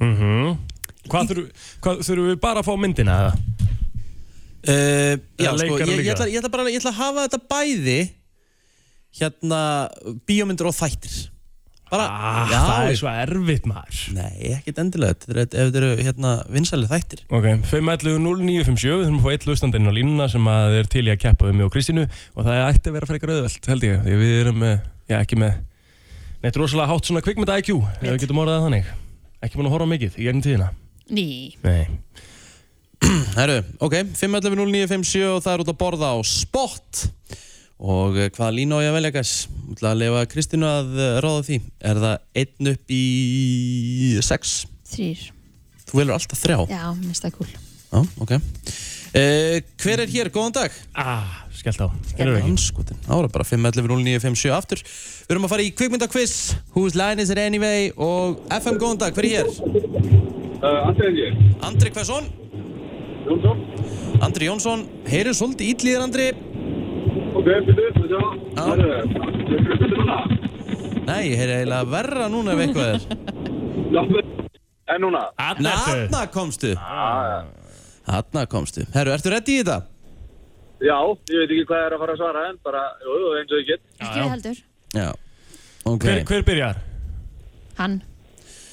S3: mm Hvað þurfum hvað, þurfum við bara að fá myndina eða?
S1: uh, Já,
S3: Eða
S1: sko,
S3: leikara
S1: ég, ég,
S3: líka.
S1: ætla, ég ætla bara ég ætla að hafa þetta bæði hérna bíómyndir og þættir Bara,
S3: Ah,
S1: já,
S3: það er
S1: ég-
S3: svo erfitt maður
S1: Nei, ekkert endilega, þetta er, ef þetta eru hérna vinsæli þættir
S3: Ok, 5.11.09.57 Við þurfum að fá eitt hlustandinn á línuna sem að er til í að keppa við mig og Kristínu og það ætti að vera frekar auðvelt, held ég því við erum, eh, já, ekki með neitt rosalega hátt svona kvikmynda IQ ef við getum orðað það þannig ekki mann að horfa á mikið í gegnum tíðina
S2: Ný.
S3: Nei
S1: Herru, ok, 5.11.09.57 og það er út að borða á spott og eh, hvaða lína á ég að velja, gæs? Ég ætla að lefa Kristínu að eh, ráða því Er það einn upp í sex?
S2: Þrýr.
S1: Þú velur alltaf þrjá?
S2: Já, minnst það kúl.
S1: Já, ok uh, Hver er hér? Góðan dag
S3: Ah, skellt á Erum við ekki?
S1: Anskotin, ára bara 5.11.09.57 aftur Við erum að fara í kvikmyndakviss Whose line is it anyway og FM, góðan dag, hver er hér?
S6: Uh, Andrið ég,
S1: Andri Hversson,
S6: Jónsson,
S1: Andri Jónsson Heyrið svolítið ítlýðir Andri
S6: ok, byrju, byrju,
S1: Já.
S6: það er það.
S1: Nei, ég heyrið eiginlega verra núna ef eitthvað er
S6: En núna, Ah,
S1: Nei,
S3: Arna ertu?
S1: Hanna komstu Hanna komstu Herru, ertu reddi í þetta?
S6: já, ég veit ekki hvað það er að fara að svara en bara, jú, jú, eins og ég get.
S2: Ekki við heldur.
S1: Já, ok
S3: Hver, hver byrjar?
S2: Hann.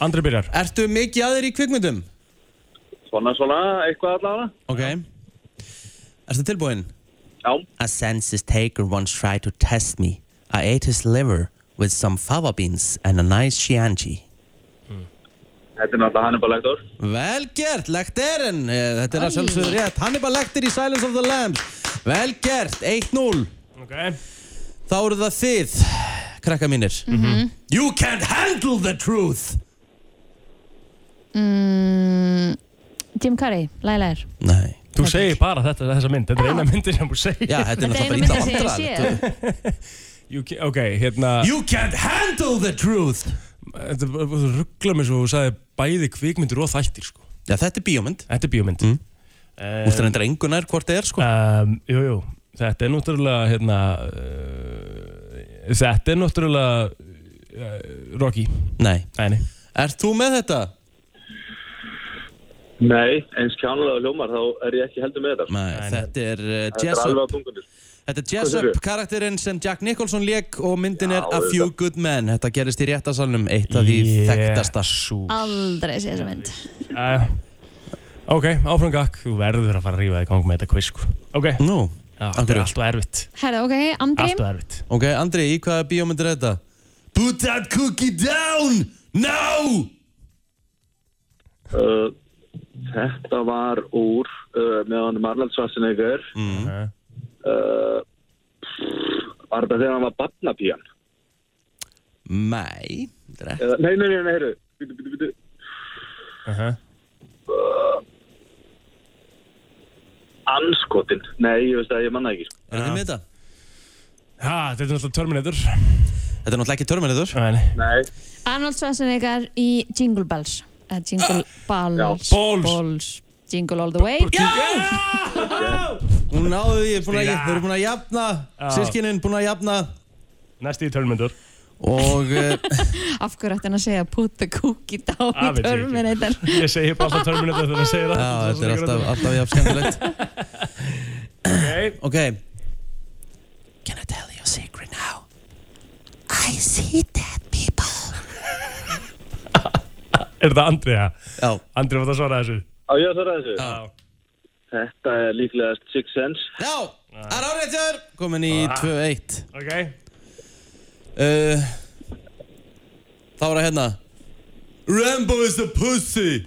S3: Andri byrjar
S1: Ertu mikið aðeir í kvikmyndum?
S6: Svona, svona, eitthvað allavega.
S1: Ok Ertu tilbúinn?
S6: Já,
S9: A census taker once tried to test me. I ate his liver with some fava beans and a nice shianji.
S6: þetta er náttúrulega Hannibal Lecter.
S1: Vel gert, lekterinn Eh, Þetta er að sjálfsögðu rétt Hannibal lekter í Silence of the Lambs Vel gert, 1-0
S3: Ok
S1: Þá eru það þið, krakka mínir
S6: Mhm.
S1: You can't handle the truth
S3: Mm.
S2: Mm, Jim Carrey, lælæðir.
S1: Nei
S3: Þú segir bara þetta, þessa mynd, þetta er eina myndir sem þú segir
S1: Já, þetta er
S2: Þetta er
S1: náttúrulega
S2: eina
S1: bara
S2: myndin sem ég
S1: ítla
S2: sé.
S1: vandrar
S3: you, ca- Ok, hérna
S1: You can't handle the truth
S3: Þetta ruggla mér svo og sagði bæði kvikmyndir og þættir sko
S1: Já, þetta er bíómynd
S3: Þetta er bíómynd mm.
S1: Þú veist þetta engunar hvort það er sko
S3: um, Jú, jú, þetta er náttúrulega hérna uh, Þetta er náttúrulega uh, Rocky
S1: Nei
S3: Nei, nei
S1: Ert þú með þetta?
S6: Nei, eins kjánulega hljómar, þá er ég ekki heldur með þetta.
S1: Nei, þetta er uh,
S6: Þetta er alveg
S1: Jessup
S6: á tungunni.
S1: Þetta er
S6: Hvað
S1: Jessup
S6: segirðu?
S1: karakterinn sem Jack Nicholson lék og myndin er
S6: Já,
S1: A Few
S6: auðvitað.
S1: Good Men Þetta gerist í réttasalnum eitt af því þekktasta
S2: Aldrei sé þessa mynd.
S3: uh, Ok, áfram gakk Þú verður að fara að rífa þig í gang með þetta quiz sko Ok,
S1: Nú,
S3: Já,
S1: af
S3: þetta er
S1: hverju?
S3: allt og erfitt
S2: Herra, ok, Andri.
S3: Allt og erfitt
S1: Ok, Andri, í hvaða bíómynd er þetta? Put that cookie down! Now!
S6: Uh, Þetta var úr uh, með hann Marland Schwarzenegger.
S3: uh,
S10: Eh,
S6: Uh, Var þetta þegar hann var barnapíjan?
S1: Nei, þetta er ekki-
S6: Eða, nei, nei, nei, nei, heyrðu. Bítu, bítu, bítu.
S3: Uh-huh. uh -huh.
S6: Æ,
S10: anskotin. Nei, ég veist að ég manna ekki. sko.
S1: Er þið með þetta?
S3: Ha, þetta er náttúrulega Terminator.
S1: Þetta er náttúrulega ekki Terminator
S3: Nei.
S10: Nei,
S2: Arnold Schwarzenegger í Jingle Bells Eða Jingle Balls
S3: Ah. Balls.
S2: Jingle all the way
S1: Hún náðu því, búin að, þau eru búin að jafna Sískinin búin að jafna
S3: Næsti í Terminator.
S1: Og uh,
S2: Af hverju ætti hann að segja put the cookie down
S3: Það
S2: í
S3: veit ég Ah, ekki.
S2: Terminator
S3: Ég segi bara alltaf Terminator þegar ég segi það.
S1: já, þetta er alltaf,
S3: Ok.
S1: alltaf jafn skemmtilegt Ok,
S9: Can I tell you a secret now? I see dead people.
S3: Er þetta Andriða?
S1: já,
S3: Andriða var það að svara þessu.
S10: á ég að svara þessu? Þetta er líklegast Six Sense.
S1: já Það er áreitur Komin í 2-1
S3: Ah. Ok.
S1: uh, Þá er það hérna Rambo is a pussy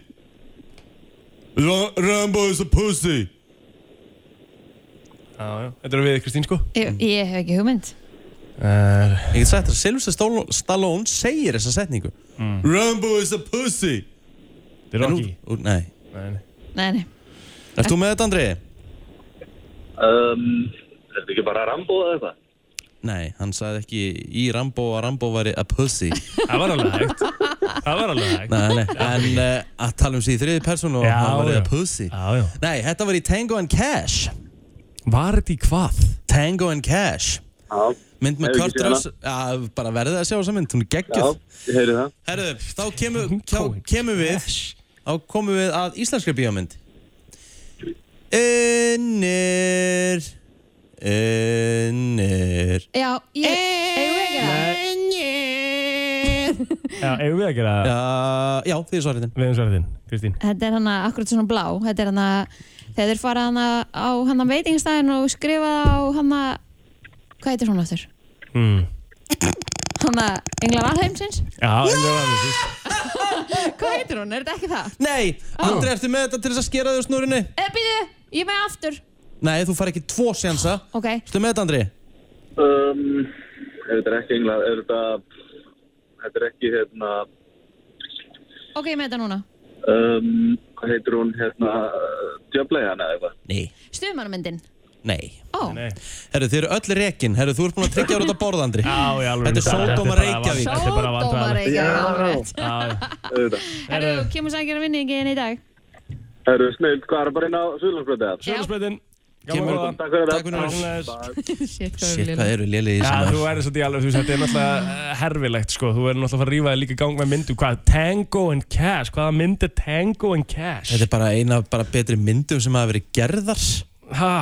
S1: Ra- Rambo is a pussy
S3: Já, já. Þetta eru við Kristín sko.
S2: ég, ég hef ekki hugmynd
S3: Uh,
S1: Ég get sagt þér að Sylvester Stall- Stallone segir þessa setningu Rambo is a pussy
S3: Mm. þetta er
S1: En
S3: Rocky.
S1: úr- úr- Nei
S3: Nei, nei.
S2: Nei, nei,
S1: Ert þú með þetta, Andri?
S10: Um, er þetta ekki bara Rambo eða eitthvað?
S1: Nei, hann sagði ekki í Rambo að Rambo væri a pussy
S3: Það var alveg hægt. Það var alveg hægt.
S1: Nei, nei, en uh, að tala um sig í þriði persónu og
S3: Já,
S1: hann væri
S3: já.
S1: a pussy
S3: Já, já.
S1: Nei, þetta var í Tango and Cash
S3: Var þetta í hvað?
S1: Tango and Cash
S10: Já,
S1: Mynd með
S10: Hefur
S1: Kurt
S10: ekki séð
S1: Russell Já, bara verðið að sjá þessa mynd, hún er
S10: já,
S1: geggjöð
S10: ég heyri það.
S1: Herðu, þá kemur, þá kemur við Þá komum við að íslenskri bíómynd Unnur Unnur
S2: já, ég Eigum við ekki það?
S3: Já, eigum við að gera það?
S1: Já, já, því er svaretin
S3: Við hefum svarað þinn, Kristín.
S2: Þetta er hann að akkurat svona blá Þetta er hann að þegar þeir fara hann að á hann að veitingstæðin og skrifa á hann að hvað heitir hún aftur?
S3: Mm.
S2: Hann að Englar Alheimsins?
S3: Já, englar alheimsins.
S2: Hvað heitir hún? Er þetta ekki það?
S1: Nei, Andri, ertu með þetta til þess að skera þig úr snúrinu?
S2: Eða býðu, Eh, ég er með aftur
S1: Nei, þú far ekki tvo sénsa.
S2: Ok,
S1: Ertu með þetta, Andri?
S10: Um, ef þetta er ekki engla, ef þetta, þetta er ekki hérna,
S2: ok, ég með þetta núna
S10: um, hvað heitir hún hérna, Djöblei hana eða eitthvað?
S1: Nei.
S2: Stuðmannamyndin
S1: Nei.
S2: Ó,
S3: Nei.
S1: Herru, þið eru öll rekin. Herru, þú ert búin að tryggja úr þetta borða, Andri.
S3: Já, já, alveg.
S1: Þetta er Sódóma Reykjavík.
S3: Þetta er bara vandrarlegt.
S2: Sódómareikja, alveg
S3: Já, já.
S10: Auðvitað.
S2: Herru, kemur sækjara vinningin í dag
S10: Það eru snild, hvað er bara inn á Suðlandsbröðið eða?
S3: Sjóðsbreytin.
S1: Kemur-
S10: Takk fyrir
S1: Takk fyrir
S10: það.
S1: allt.
S2: Shit,
S1: Shit, hvað eru lélið í
S3: Já,
S1: sem
S3: þú
S1: er.
S3: er þess að alveg, þú veist, þetta er náttúrulega eh, herfilegt, sko. Þú er náttúrulega að fara að rífa þig líka í gang með myndu. Hvað, Tango and Cash? Hvaða mynd er Tango and Cash?
S1: Þetta er bara eina af bara betri myndum sem hafa verið gerðar.
S3: Ha,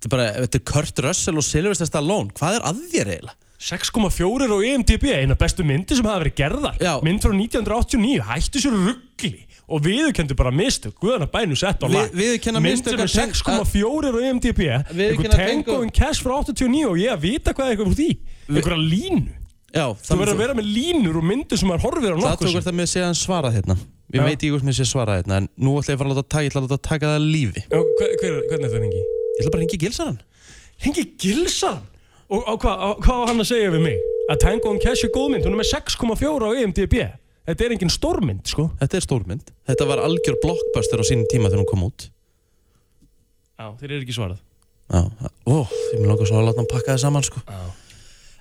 S1: Þetta er bara, þetta er Kurt Russell og Sylvester Stallone. Hvað er að þér eiginlega?
S3: 6,4 á E IMDb, eina bestu myndi sem hafa verið gerðar.
S1: Já.
S3: Mynd frá 1989, hættu sér ruggli og viðurkendu bara mistök, guðana bænu sett á
S1: Vi-
S3: lag.
S1: viðurkenna mistök
S3: Mynd
S1: að
S3: sem
S1: teng-
S3: er 6,4 á E IMDb, einhver
S1: Viðurkenna
S3: Tango
S1: Tango-
S3: and Cash frá 89 og ég að vita hvað er eitthvað úr því. Einhverja línu.
S1: Já,
S3: Þú verður að vera með línur og myndu sem maður horfir á
S1: Það
S3: nokkuð.
S1: tók
S3: sinnum.
S1: þetta með að segja hann svarað hérna. Ég
S3: Já.
S1: veit ekki hvort með að segja svarað hérna, en nú ætla ég að fara að láta taka, ég ætla að láta taka það af lífi.
S3: Já, hver- hver- Hvernig er það hengi?
S1: Ég ætla bara að ringi gilsarann.
S3: Hengi Gilsan? Og á, hvað á- hvað á hann að segja við mig? Að Tango and Cash er góð mynd, hún er með 6,4 á E IMDb. Þetta er engin stórmynd, sko.
S1: Þetta er stórmynd. Þetta var algjör blockbuster á sínum tíma þegar hún kom út.
S3: Já, þeir eru ekki svarað.
S1: Já, það- ó, ég mér langar svona að láta hann pakka það saman, sko.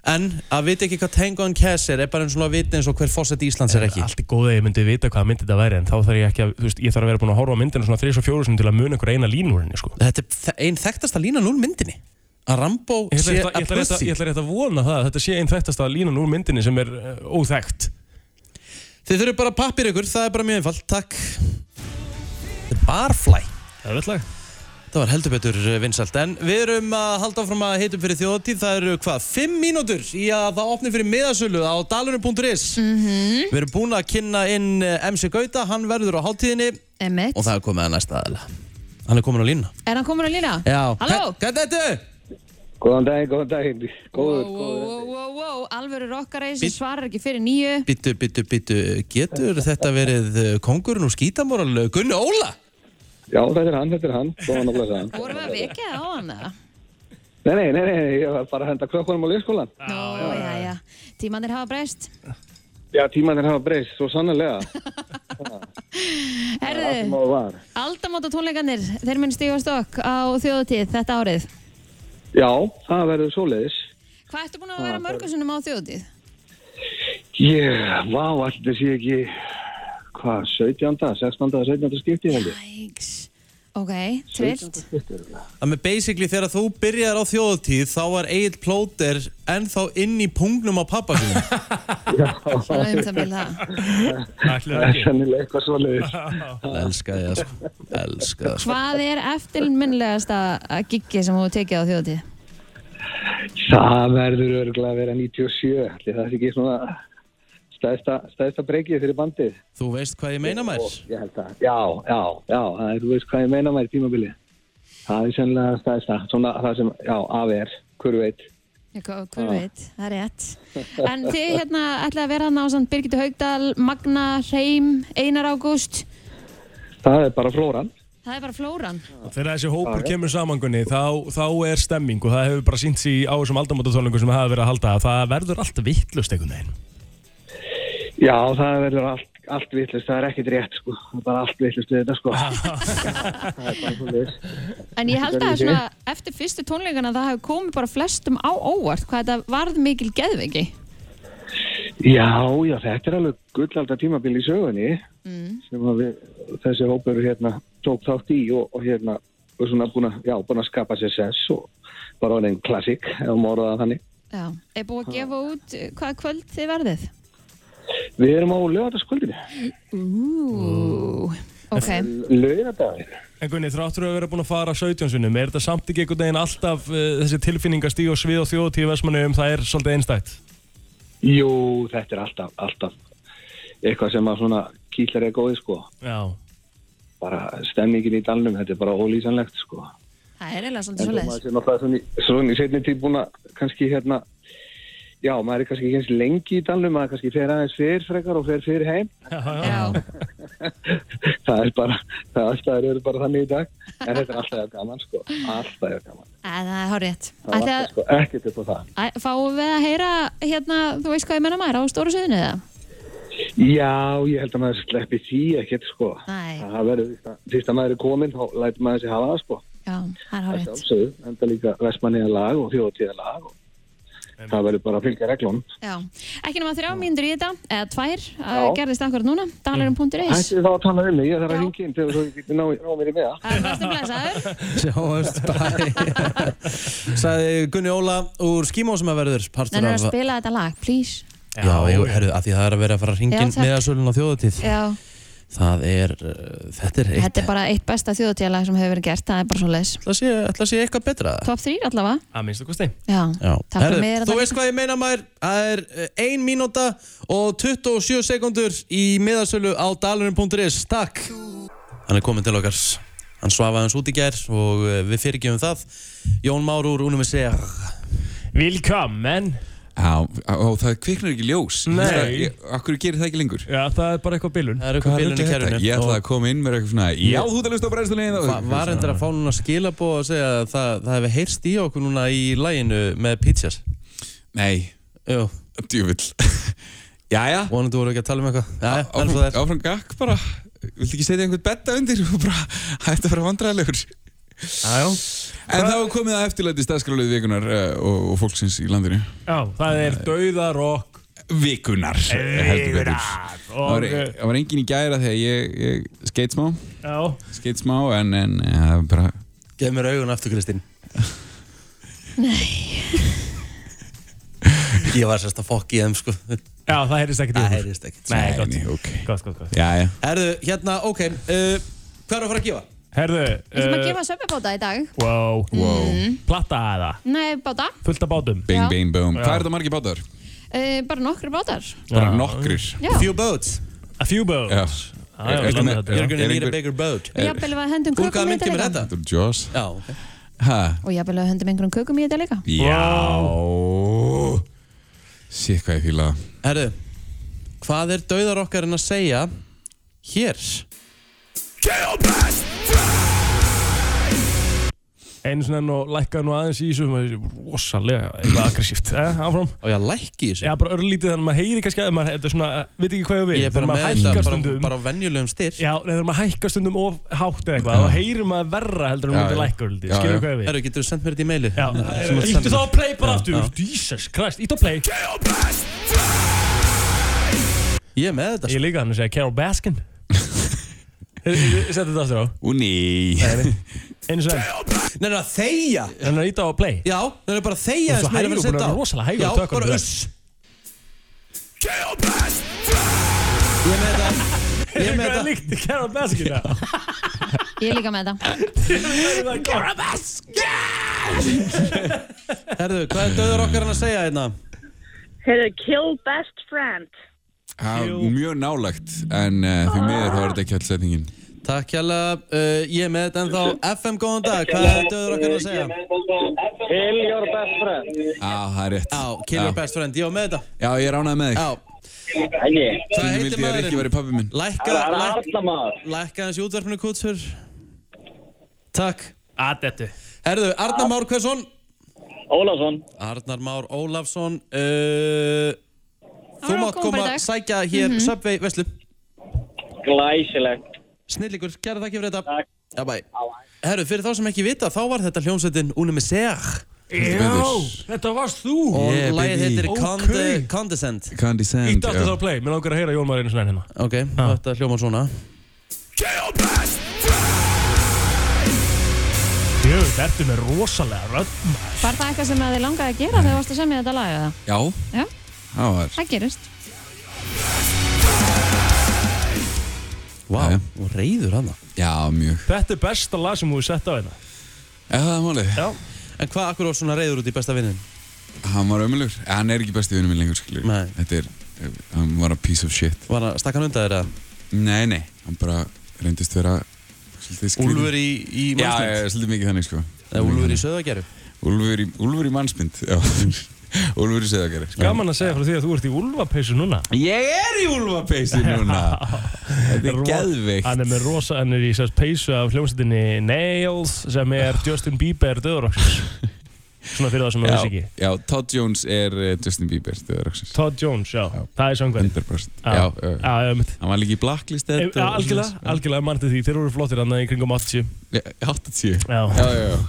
S1: En að vita ekki hvað Tango and Cash er, er bara eins og að vita eins og hver fósett Íslands er ekki.
S3: Allt er góð að ég myndi vita hvaða mynd þetta væri, en þá þarf ég ekki að, þú veist, ég þarf að vera búin að horfa á myndina svona 3-4 sinni til að muna einhver eina línu úr henni, sko.
S1: Þetta er þe- ein þekktasta línan úr myndinni. Að Rambo
S3: Ég ætla
S1: sé
S3: rétt að- ég
S1: að
S3: ætla rétt að- ég
S1: pussy.
S3: ætla rétt að vona það að þetta sé einn þekktasta línan úr myndinni sem er uh, óþekkt.
S1: Þið þurfum bara pappir ykkur, það er bara mjög einfalt. Takk. The Barfly.
S3: Það er vettlag.
S1: Það var heldur betur vinsalt en við erum að halda áfram að heitum fyrir þjóðatíð það eru hvað, 5 mínútur í að það opni fyrir miðasölu á dalunum.is
S2: Mhm.
S1: Við erum búin að kynna inn eh, MC Gauta, hann verður á hátíðinni og
S2: Emmett,
S1: það er komið að næsta aðila Hann er komin á línna
S2: er hann komin að lína?
S1: Já,
S2: Halló?
S1: Hva- Hvað er þetta?
S10: Góðan daginn, góðan daginn.
S2: Wow, wow, wow, wow, alvöru rockareis sem svarar ekki fyrir nýju
S1: Bittu, bittu, bittu, getur þetta verið eh, kóngurinn úr skítamóral Gunni Óla?
S10: Já, þetta er hann, þetta er hann. Góðan að blessa hann.
S2: vorum við að vekja það á hann eða?
S10: Nei, nei, nei, nei, ég var bara að henda krökkunum á leikskólan.
S2: Nó, já, já, tímanir hafa breyst
S10: Já, tímanir hafa breyst, svo sannlega.
S2: Herðu,
S11: Mál var.
S2: aldamóta tónleikanir, þeir minn stífa stokk á þjóðutíð þetta árið.
S11: Já, það verður svoleiðis.
S2: Hvað ertu búin að vera mörgursunum á þjóðutíð?
S11: Ég, vá, allir sé ekki, hvað, 17. 16. 17. skipti heldur.
S2: Æks, ok, trillt.
S1: Það með basically þegar þú byrjar á þjóðutíð þá var Egil Plóter ennþá inn í pungnum á pappa sinni.
S2: Svona um það með það.
S11: Það er sennilega eitthvað svoleiðis.
S1: Elskar það, sko. Elskar það, sko.
S2: Hvað er eftirminnilegasta giggi sem þú tekið á þjóðutíð?
S11: Það verður örgulega að vera 97, allir það er ekki svona stæðsta, stæðsta breykið fyrir bandið.
S1: Þú veist hvað ég meina mér?
S11: Ég held það. Já, já, já, það er, þú veist hvað ég meina mér tímabilið. Það er sennilega stæðsta, svona það sem, já, af er, hver veit.
S2: Já, hva- Hver veit, það er rétt. En þið hérna ætlaði að vera hann á samt Birgitur Haugdal, Magna, Hreim, Einar Ágúst.
S11: Það er bara flóran.
S2: Það er bara flóran.
S3: Þegar þessi hópur kemur samangunni þá, þá er stemming og það hefur bara sínt sig á þessum aldamótatónleikum sem það hafa verið að halda að það verður allt vittlust einhvern veginn.
S11: Já, það verður allt, allt vittlust, það er ekkert rétt, sko. Það er bara allt vittlust við þetta, sko. það er bara svoleiðis.
S2: En ég held
S11: Þetta
S2: að
S11: verður
S2: svona, eftir fyrstu tónleikana það hafi komið bara flestum á óvart hvað þetta varð mikil geðveiki.
S11: Já, já, þetta er alveg gullaldar tímabil í sögunni sem að við, þessi hópur hérna tók þátt í og, og hérna og svona búin að, já, búin að skapa sér sess og bara orðin klassik ef maður orðaði það þannig.
S2: Já. Er búið að gefa út eh, hvaða kvöld þið verðið?
S11: Við erum á lögataskvöldinu,
S2: Ú, ok.
S11: lögadaginn.
S3: En Gunni, þráttur að vera búin að fara 17 sinnum, er þetta samt ekki einhvern veginn alltaf uh, þessi tilfinningastíg og svið og þjóðtíð vesmannu um það er svolítið einstætt?
S11: Jú, þetta er alltaf, alltaf eitthvað sem að svona kýlar er góði, sko.
S3: Já.
S11: Bara stemningin í dalnum, þetta er bara ólýsanlegt, sko.
S2: Það er eiginlega svolítið
S11: En þó maður
S2: svoleiðis.
S11: sé náttúrulega svona í, svona í setni tíð búin að kannski hérna já, maður er kannski ekki eins lengi í dalnum maður kannski fer aðeins fyrir frekar og fer fyrir heim
S2: Já,
S11: það er bara, það er alltaf eru bara þannig í dag en þetta er alltaf jafn gaman sko alltaf jafn gaman,
S2: Æ, það er hárétt.
S11: það
S2: Ætli
S11: var
S2: að
S11: sko ekkert upp á það
S2: Æ, Fáum við að heyra, hérna, þú veist hvað ég menna maður, á stóru suðinu eða?
S11: já, ég held að maður sleppi því ekkert sko
S2: Nei.
S11: það verður, fyrst að- fyrst að maður er komin þá lætur maður sig hafa það sko
S2: Já, það er
S11: það er
S2: hárétt.
S11: sjálfsögðu, enda líka vestmanniða lag og þjóðtíða lag og það verður bara að fylgja reglunum
S2: Já, ekki nema þrjá mínútur í þetta, eða tvær, að
S11: Já. Mm.
S2: gerðist akkurat núna, um dalarum.is.
S11: Hættu þá að tala um mig, ég þarf
S2: Já.
S11: að hingja inn þegar þú getur ná, ná mér í meða.
S2: Vastu blæsaður?
S1: Sjáumst, bæ. Sæði Gunni Óla úr Skímó sem að verður partur
S2: Þannig að
S1: af...
S2: spila þetta lag, please.
S1: Já, já, herruðu, að því það er að vera að fara að
S2: Já,
S1: ringin
S2: takk.
S1: meðasölun á þjóðutíð.
S2: Já,
S1: Það er, uh, þetta er eitt.
S2: þetta er bara eitt besta þjóðutíðalag sem hefur verið gert, það er bara svo leiðis.
S1: Það sé, ætla að sé eitthvað betra.
S2: Top 3 allavega,
S3: Að minnstu kosti.
S2: já.
S1: Já,
S2: Takk fyrir
S1: Herðu,
S2: mig, er
S1: þú
S2: þetta-
S1: veist hvað ég meina maður Það er eh, ein mínúta og 27 sekundur í miðasölu á dalurinn.is Takk Hann er komin til okkar Hann svafaði hans út í gær og eh, við fyrirgefum það Jón Már úr Unum við segja
S3: Vilkommen!
S4: Já, og það kviknar ekki ljós
S3: Nei.
S4: Akkur gerir það ekki lengur
S3: Já, það er bara eitthvað bilun.
S1: Það eru eitthvað bilun í
S4: þetta?
S1: kerfinu
S4: Ég ætlaði
S1: og
S4: að koma inn með eitthvað svona Já, þú ert að lusta á brennslunni
S1: Va- Var endur að fá núna skilabó að segja að það, það hefði heyrst í okkur núna í læginu með pizzas
S4: Nei,
S1: Jú,
S4: djúvill Jæja,
S1: vonandi voru ekki að tala um eitthvað Jæja, en
S4: áfram,
S1: svo þær
S4: áfram gakk bara Viltu ekki setja einhvern betta undir og bara hætti að vera vandræðilegur
S3: Já, já.
S4: En þá er komið að eftirlæti staðskrálið vikunar uh, og, og fólksins í landinu
S3: Já, það er dauðarokk.
S4: Vikunar eh, heldur betur.
S3: Vikunar,
S4: Það var,
S3: og- eh,
S4: það var engin í gæra þegar ég, ég skeit smá,
S3: Já.
S4: skeit smá en, en eh, það var bara
S1: Gef mér augun aftur Kristín Nei Ég var sérst að fokk í þeim sko Það
S3: Já, það heyrist ekkert í okkur.
S1: heyrist ekkert
S3: Nei, gott.
S4: Nei, ok.
S3: Gott, gott, gott.
S4: Jæja,
S1: Herðu, hérna, ok uh, Hvað er að fara að gefa?
S3: Herðu,
S2: Við ætlum að
S3: eh,
S2: gefa söpubóta í dag.
S3: wow.
S4: wow,
S3: Platta eða?
S2: Nei, báta.
S3: Fullt af bátum.
S4: bing,
S2: Mhm. Já.
S4: bing, boom
S3: Já.
S4: Hvað er það margir bátar?
S2: Uh, bara nokkru bátar.
S4: Bara
S3: Já.
S4: nokkrir
S2: Já.
S1: Few boats
S3: A few boats.
S4: Já.
S3: Já, já,
S4: Er- er-
S3: landa
S4: er-
S3: þetta,
S1: You're
S3: já.
S1: gonna
S4: Er
S1: need a
S4: einhver-
S1: bigger boat
S2: Jafnvel að hendum
S1: Eh, Úr
S2: kökum
S1: hvaða
S2: í
S1: mynd
S2: þetta
S1: kemur
S2: líka.
S1: þetta?
S4: Þú er Jaws
S1: Já, ok
S4: Ha?
S2: Og jafnvel að hendum einhverjum kökum í þetta líka.
S4: Já Sér hvað ég fíla það.
S1: Herðu, hvað er dauðar okkar en að segja hér?
S3: einu svona enn og lækkaði nú aðeins í þessu maður er rosalega eitthvað aggressíft eh, áfram
S1: og ég lækki í þessu
S3: já bara örlítið þannig að maður heyri kannski að maður þetta er svona eh, veit ekki hvað ég vil
S1: Ég er bara
S3: Þegar
S1: með
S3: maður
S1: þetta,
S3: hækkar
S1: bara-
S3: stundum
S1: bara á venjulegum styr
S3: já nei, þegar maður hækkar stundum of hátt eða eitthvað þá heyrir maður verra heldur en
S1: Já,
S3: maður
S1: já.
S3: lækkar örlítið
S1: Já,
S3: skilur
S1: já.
S3: hvað ég vil
S1: Herru, getur þú sendt mér þetta í meili?
S3: Já, Íttu þá að play bara aftur Jesus Christ, íttu að play
S1: Ég er með þetta
S3: Ég líka hann að segja Carol Baskin Sett þetta aftur á
S5: Ú, nei
S3: Einu sem
S1: Nei, það þegja
S3: Þannig að íta á play
S1: Já, það er bara að
S3: Þú
S1: þegja
S3: ert svo
S1: þess meira
S3: hægur, búin að
S1: fyrir að setja á
S3: vera rosalega hægur á
S1: Já,
S3: tökunum
S1: bara
S3: þér.
S1: uss Ég er með þetta Ég er með
S3: Hvað líkti Carol Baskin það?
S2: Ég er líka með þetta
S3: Carol
S1: Baskin Herðu, hvað er döður okkar hann að segja hérna?
S12: Heyrðu, kill best friend.
S13: Já, mjög nálagt, en uh, því miður þá er þetta ekki alls setningin.
S1: Takk hjálpa, uh, ég er með þetta ennþá FM góðan dag, hvað er döður okkar hann að segja?
S6: Kill your best friend.
S13: Já, það er rétt.
S1: Já, Kill your best friend, ég var með þetta
S13: Já, ég ránaði með þig.
S1: Já.
S13: Stundum
S1: Hvað heitir
S13: vildi ég að Rikki væri
S1: maðurinn?
S13: pabbi minn.
S1: Lækka,
S13: Það er
S1: lækka, lækka hans í útvarpinu kútsur Takk
S3: Aðettu
S1: Herðu, Arnar Már Hversson
S6: Ólafsson
S1: Arnar Már Ólafsson uh, Þú
S6: var
S1: mátt
S6: góð
S1: koma
S6: bara í
S1: að
S6: dag.
S1: sækja hér
S6: Mhm.
S1: Subway Veslu
S6: Glæsilegt.
S1: Snillikur, kæra þakki fyrir þetta Takk Já, bæ Herru, fyrir þá sem ekki vita, þá var þetta hljómsveitin Unimiseg
S3: Já, þetta varst þú
S1: Og yeah, lagið heitir
S3: Ok.
S1: Conde, Condescend
S13: Condescend,
S3: Íttu aftur þá að play Mér langar að heyra Jón Már einu svona hérna
S1: Ok, þetta hljómar svona
S3: Jú, þetta er með rosalega rödd maður.
S2: Var það eitthvað sem að þið langaði að gera þegar þú varst að semja þetta lag eða?
S13: Já,
S2: Já,
S13: það var.
S2: það gerist
S1: Vá, og reyður hana
S13: Já, mjög.
S3: Þetta er besta lag sem þú hefur sett á hérna
S13: Já, það er málið.
S3: Já.
S1: En hvað akkur var svona reyður út í besta vinnin?
S13: Hann var ömulegur. Eh, Hann er ekki besti vinnu minn lengur, skilur. Nei. Þetta er, eh, hann var a piece of shit.
S1: Var hann, stakk hann undan þér eða?
S13: Nei, nei. Hann bara reyndist vera svolítið skrýtinn.
S1: Úlfur í- í
S13: Já,
S1: mannsmynd?
S13: já, svolítið mikið þannig, sko.
S1: Eða Úlfur í söðageru?
S13: Úlfur í, úlfur í mannsmynd, já. Úlfur í sko. söðageru.
S3: Gaman að segja frá því að þú ert í úlvapeysu núna
S13: Ég er í úlfapeysu núna. Þetta er
S3: Ro-
S13: geðveikt.
S3: Hann er með rosa, hann er í sérst peysu af hljómsveitinni Nails sem er Justin Bieber döðuroksins Svona fyrir það sem að
S13: Já,
S3: vissi ekki
S13: já, Todd Jones er eh, Justin Bieber stöðuraksins
S3: Todd Jones, já, það er samkvæmt
S13: 100%
S3: Já,
S13: Já,
S3: já,
S13: já,
S3: já, einmitt.
S13: Hann var líka í blacklist
S3: E, Algjörlega, algjörlega, mann til því, þeir eru flottir hann í kringum 80
S13: 80
S3: Já,
S13: já, já, já.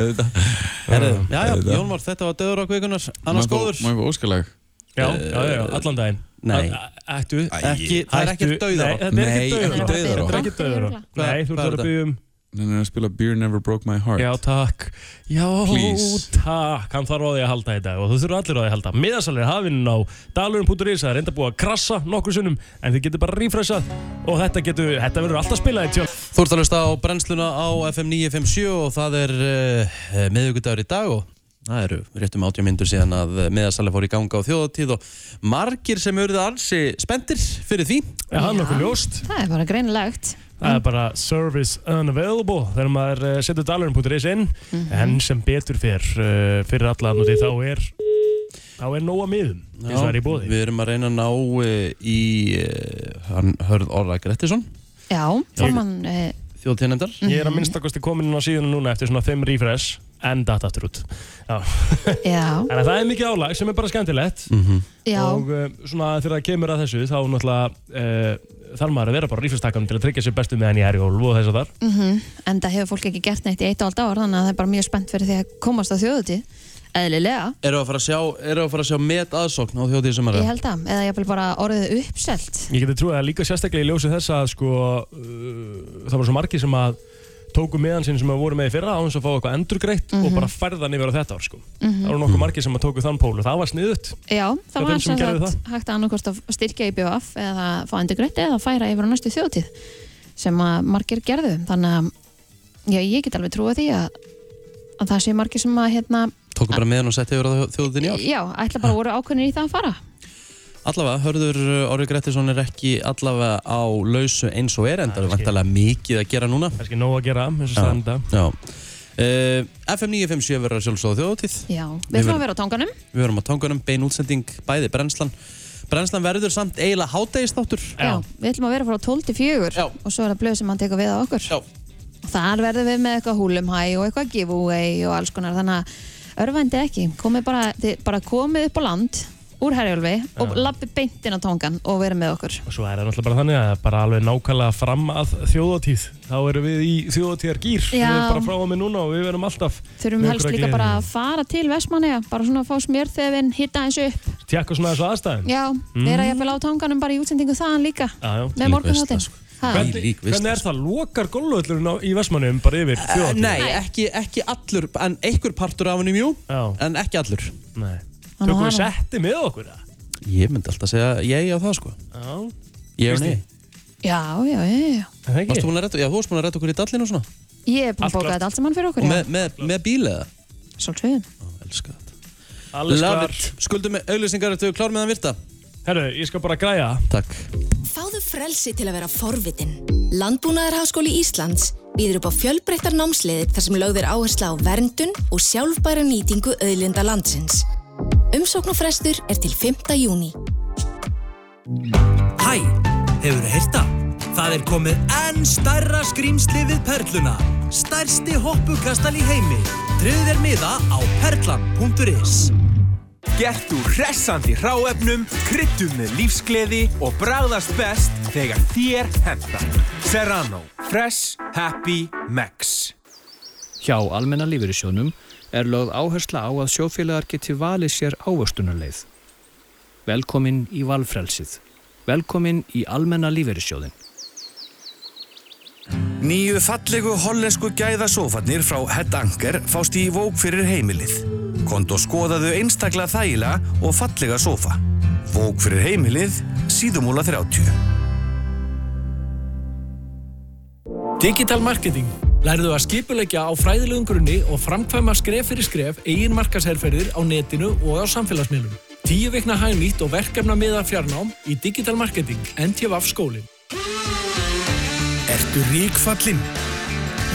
S13: Þetta
S1: Herru, já, já,
S13: Þetta-
S1: Jón Már, þetta var döður okkur vikunar Annars
S13: Má ég fá-
S1: góður
S13: Má ég fá Eh, óskalag?
S3: Já, já, já, já, allan daginn
S1: Nei.
S3: A- a- Ættu
S1: Ekki- það er
S3: Hættu-
S1: ekkert dauðarokk.
S3: Nei, þetta er
S13: Nei,
S3: ekki
S13: ekki dauðarokk.
S3: döðurokk Þetta er ekki döðurokk
S13: Hvað-
S3: Nei, þú
S13: hvað er
S3: ert að byggja um
S13: Hann er að spila Beer Never Broke My Heart
S3: Já, takk Já,
S13: Please.
S3: takk, hann þarf á því að halda í dag og þú þurfa allir á því að halda Miðasalir hafinn á dalurinn.is það er enda búið að krassa nokkur sunnum en þið getur bara að refresha og þetta getur, þetta verður alltaf spilað í tjón
S1: Þú ert að hlusta á brennsluna á FM 957 og það er uh, miðugudagur í dag og það eru réttum átjum myndur síðan að miðasali fór í ganga á þjóðatíð og margir sem eruðu ansi spenntir fyrir því.
S3: Já, það er nokkuð ljóst.
S2: Það er bara greinilegt
S3: Það er bara service unavailable þegar maður eh, setur dalurinn.is inn en sem betur fyrr Eh, fyrir alla þannig þá er þá er nóga miðum eins og það er í bóði
S1: Við erum að reyna að ná uh, í uh, hann Hörð Orra Grettisson,
S2: Já, formann eh,
S1: þjóðtíðnefndar.
S3: Ég er að minnstakosti komin inn á síðuna núna eftir svona 5 refresh en data aftur út Já.
S2: Já,
S3: Þannig að það er mikið álag sem er bara skemmtilegt
S2: já,
S3: og uh, svona þegar það kemur að þessu þá náttúrulega uh, þarf maður að vera bara rífastakkan til að tryggja sér bestu meðan ég er í hólf og þess að þar
S2: mhm En það hefur fólk ekki gert neitt í eitt og allt ár þannig að það er bara mjög spennt fyrir því að komast á þjóðutíð Eðlilega,
S1: Eru að fara að sjá, eru að fara að sjá met aðsókn á þjóðtíð sem
S2: ég held að eða ég vil bara orðið uppselt
S3: Ég geti trúið að líka sérstaklega í ljósi þess að sko, uh, það var svo margir sem að tóku meðan sinn sem að voru með í fyrra á hans að fá eitthvað endurgreitt og bara færðan yfir á þetta ár sko.
S2: Mhm.
S3: Það voru nokkuð margir sem að tóku þann pól og það var sniðut
S2: Já,
S3: Það
S2: það
S3: er þeim
S2: var
S3: sem
S2: sem
S3: gerðu
S2: sagt hægt að annarkost að styrkja í BVF eða fá endur greitt eða færa yfir á næstu þjóðtíð sem að margir gerðu þannig að já, ég get alveg trúið því að, að það sé margir sem að hérna,
S1: Tóku bara meðan og setti yfir á þjóðtíðin í ár.
S2: já, ætla bara að voru ákveðnir í það að fara
S1: Allavega, hörður eh, Orri Grettisson er ekki allavega á lausu eins og er, en það er vantalega mikið að gera núna.
S3: Það er ekki nóg að gera, eins og
S1: Já.
S3: standa
S1: Já. Uh, FM 957 verður sjálfsögðu þjóðatíð
S2: Já,
S1: Við
S2: við ætlum
S1: verðum-
S2: að vera á tanganum
S1: Við verum á tangunum, bein útsending, bæði brennslan Brennslan verður samt eiginlega hátægistáttur
S2: Já, við ætlum að vera frá 12 til 4 og svo er það blöð sem hann tekur við á okkur
S1: Já.
S2: Þar verðum við með eitthvað húlumhæ og eitthvað giveaway og alls konar þannig að örvandi ekki, komið bara, þið, bara komið upp á land úr Herjólfi og
S3: Já.
S2: lappi beintinn á tóngan og verið með okkur
S3: Og svo er það náttúrulega bara þannig að bara alveg nákvæmlega fram að þjóðatíð Þá erum við í þjóðatíðar gýr Við
S2: Já.
S3: erum bara frá og með núna og við verum alltaf
S2: Þurfum
S3: með
S2: helst
S3: okkur að
S2: líka
S3: gera.
S2: bara að fara til Vestmanni bara svona að fá smjörþefin, hitta eins upp
S3: Tjekka svona þessu aðstæðum
S2: Já,
S3: Mm.
S2: vera jafnvel á tanganum bara í útsendingu þaðan líka
S3: Já, já.
S2: með morgunhóttin
S3: sko. Hvernig, hvernig er það? Lokar golvöllurinn í Vestmannum bara yfir
S1: Uh,
S3: þjóðatíð?
S1: nei, ekki, ekki allur, en einhver partur af hennum, jú,
S3: Já.
S1: en ekki allur.
S3: Nei.
S1: Hann
S3: Tökum
S1: og
S3: við
S1: hana.
S3: setti með okkur það?
S1: Ég myndi alltaf að segja ég á það, sko.
S3: Já.
S1: Ég og nei.
S2: Já, já, já, já
S1: Varstu búin að retta, já, þú varst búin að retta okkur í dallinu og svona.
S2: Ég er búin
S1: Allt
S2: að bóka
S1: klárt.
S2: þetta allt saman fyrir okkur
S1: Og með, með, með bíl eða?
S2: Svolítið
S1: Elskar þetta.
S3: Alls
S1: Love
S3: klar.
S1: it. Skuldum með auðlýsingar eftir við klárum með það virta.
S3: Herru, ég skal bara græja.
S1: Takk.
S14: Fáðu frelsi til að vera forvitin. Landbúnaðarháskóli Íslands býður upp á fjölbreyttar námsleiðir þar sem lögðir áhersla á verndun og sjálfbæra nýtingu auðlinda landsins. Umsókn og frestur er til 5. júni.
S15: Hæ, hefur þið heyrta? Það er komið enn stærra skrýmsli við Perluna. Stærsti hoppukastal í heimi. Tryggðu þér miða á perlan.is.
S16: Gert úr hressandi hráefnum, kryttum með lífsgleði og bragðast best þegar þér hentar. Serrano. Fresh. Happy. Max.
S17: Hjá almenna lífeyrissjónum er lögð áhersla á að sjófélagar geti valið sér ávöxtunarleið. Velkomin í valfrelsið. Velkomin í almenna lífeyrissjóðin.
S18: Nýju fallegu hollensku gæðasofarnir frá Head Anker fást í vók fyrir heimilið. Kond og skoðaðu einstaklega þægilega og fallega sofa. Vók fyrir heimilið, síðumúla 30.
S19: Digital marketing. Lærðu að skipulegja á fræðilegum grunni og framkvæma skref fyrir skref eigin markasherferðir á netinu og á samfélagsmiðlum. Tíu vikna hagnýtt og verkefna miða fjarnám í digital marketing, NTF skólinn.
S20: Ertu ríkfallinn?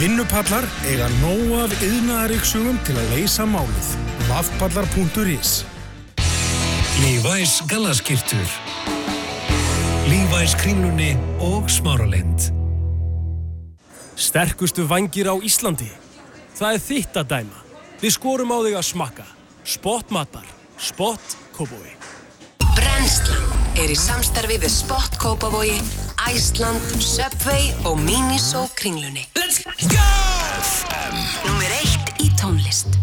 S20: Vinnupallar eiga nóg af yðnaðaríksugum til að leysa málið. Vafpallar.is
S21: Lífæs gallaskirtur Lífæs kringlunni og smáralind
S16: Sterkustu vangir á Íslandi.
S3: Það er þitt að dæma. Við skorum á þig að smakka. Spot matbar. Spot kóbúi.
S22: Brennslan er í samstarfi við Spot Kópavogi, Æsland, Subway og Miniso kringlunni. Let's go! Númer eitt í tónlist.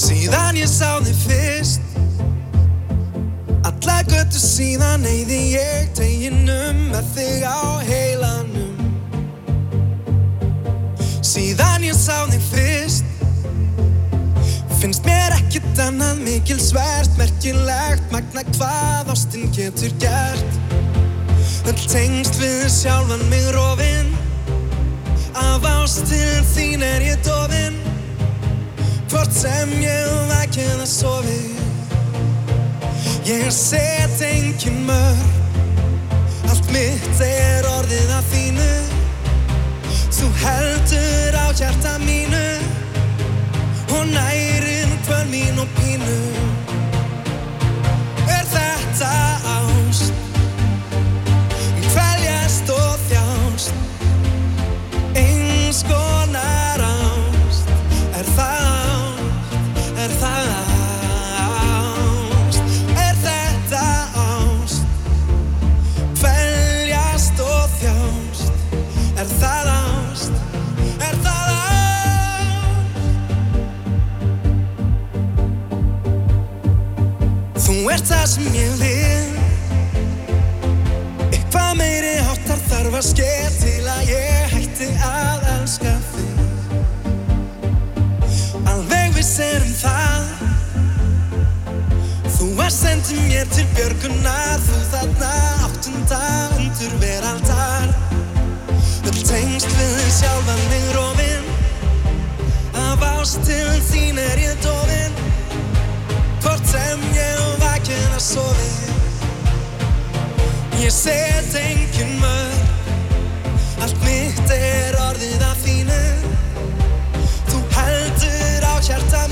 S23: Síðan ég sá þig fyrst Alla göttu síðan eyði ég teginum með þig á heilanum Síðan ég sá þig fyrst Finnst mér ekkert annað mikil svært Merkilegt magna hvað ástin getur gert Öll tengst við sjálfan mig rofin Af ástin þín er ég dofin Hvort sem ég væk eða sofi Ég set engin mör Allt mitt er orðið að þínu Þú heldur á hjarta mínu Og nærir hvör mín og pínu Er þetta ást Kvæljast og þjást Eins konar ást Er það ást, er það ást, er þetta ást Kvæljast og þjást Er það ást, er það ást Þú ert það sem ég vil Eitthvað meiri háttar þarf að sker Til að ég hætti að elska þig Alveg við serum um það Þú að sendi mér til björgunar Þú þarna áttunda undur veraldar Öll tengst við sjálfan mig rofin Af ástil þín er ég dofin Hvort sem ég vakið að sofi Ég set engin mörg Allt mitt er orðið að þínu Þú heldur á hjarta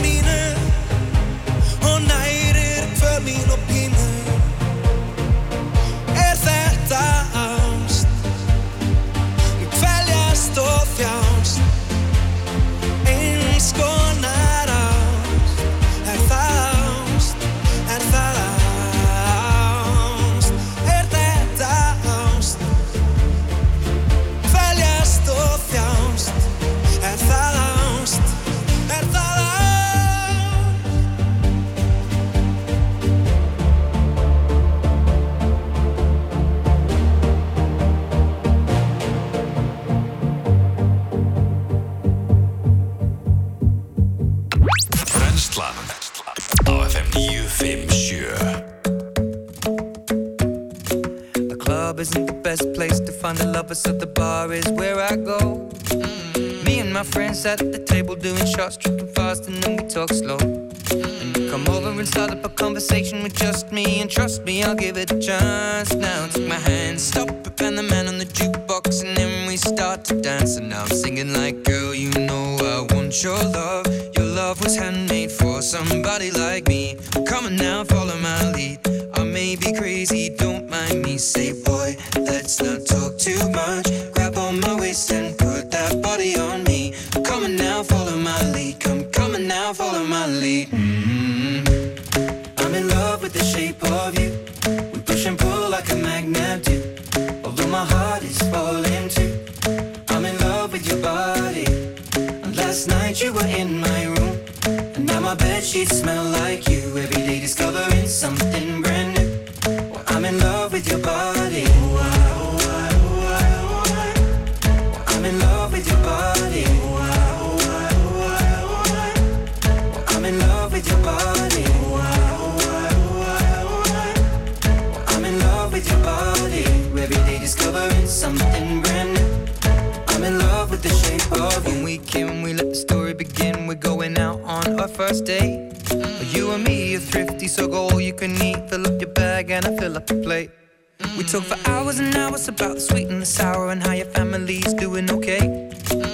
S23: Er
S21: isn't the best place to find a lover, so the bar is where I go. Mm. Me and my friends at the table doing shots, tripping fast, and then we talk slow. And you come over and start up a conversation with just me, and trust me, I'll give it a chance. Now take my hand, stop it, and the man on the jukebox, and then we start to dance. And now I'm singing like, girl, you know I want your love. Your love was handmade for somebody like me. Come on now, follow my lead. I may be crazy, don't mind me. Say, boy, let's not talk too much. Grab on my waist and put that body on me. Come on now, follow my lead. Come, come on now, follow my lead. Mm. I'm in love with the shape of you. We push and pull like a magnet do. Although my heart is falling too. I'm in love with your body. And last night you were in my room. And now my bed sheets smell like you. Every day discovering something brand new. Well, I'm in love with your body. Ooh, ah, ooh, ah, ooh, ah, ooh, ah. Well, I'm in love with your body. Ooh, ah, ooh, ah, ooh, ah, ooh, ah. Well, I'm in love with your body. Ooh, ah, ooh, ah, ooh, ah, ooh, ah. Well, I'm in love with your body. Every day discovering something brand new. I'm in love with the shape of you. When we came, we let the story begin. We're going out on our first date. But You and me are thrifty, so go all you can eat. Fill up your bag and I fill up the plate. We talk for hours and hours about the sweet and the sour and how your family's doing okay.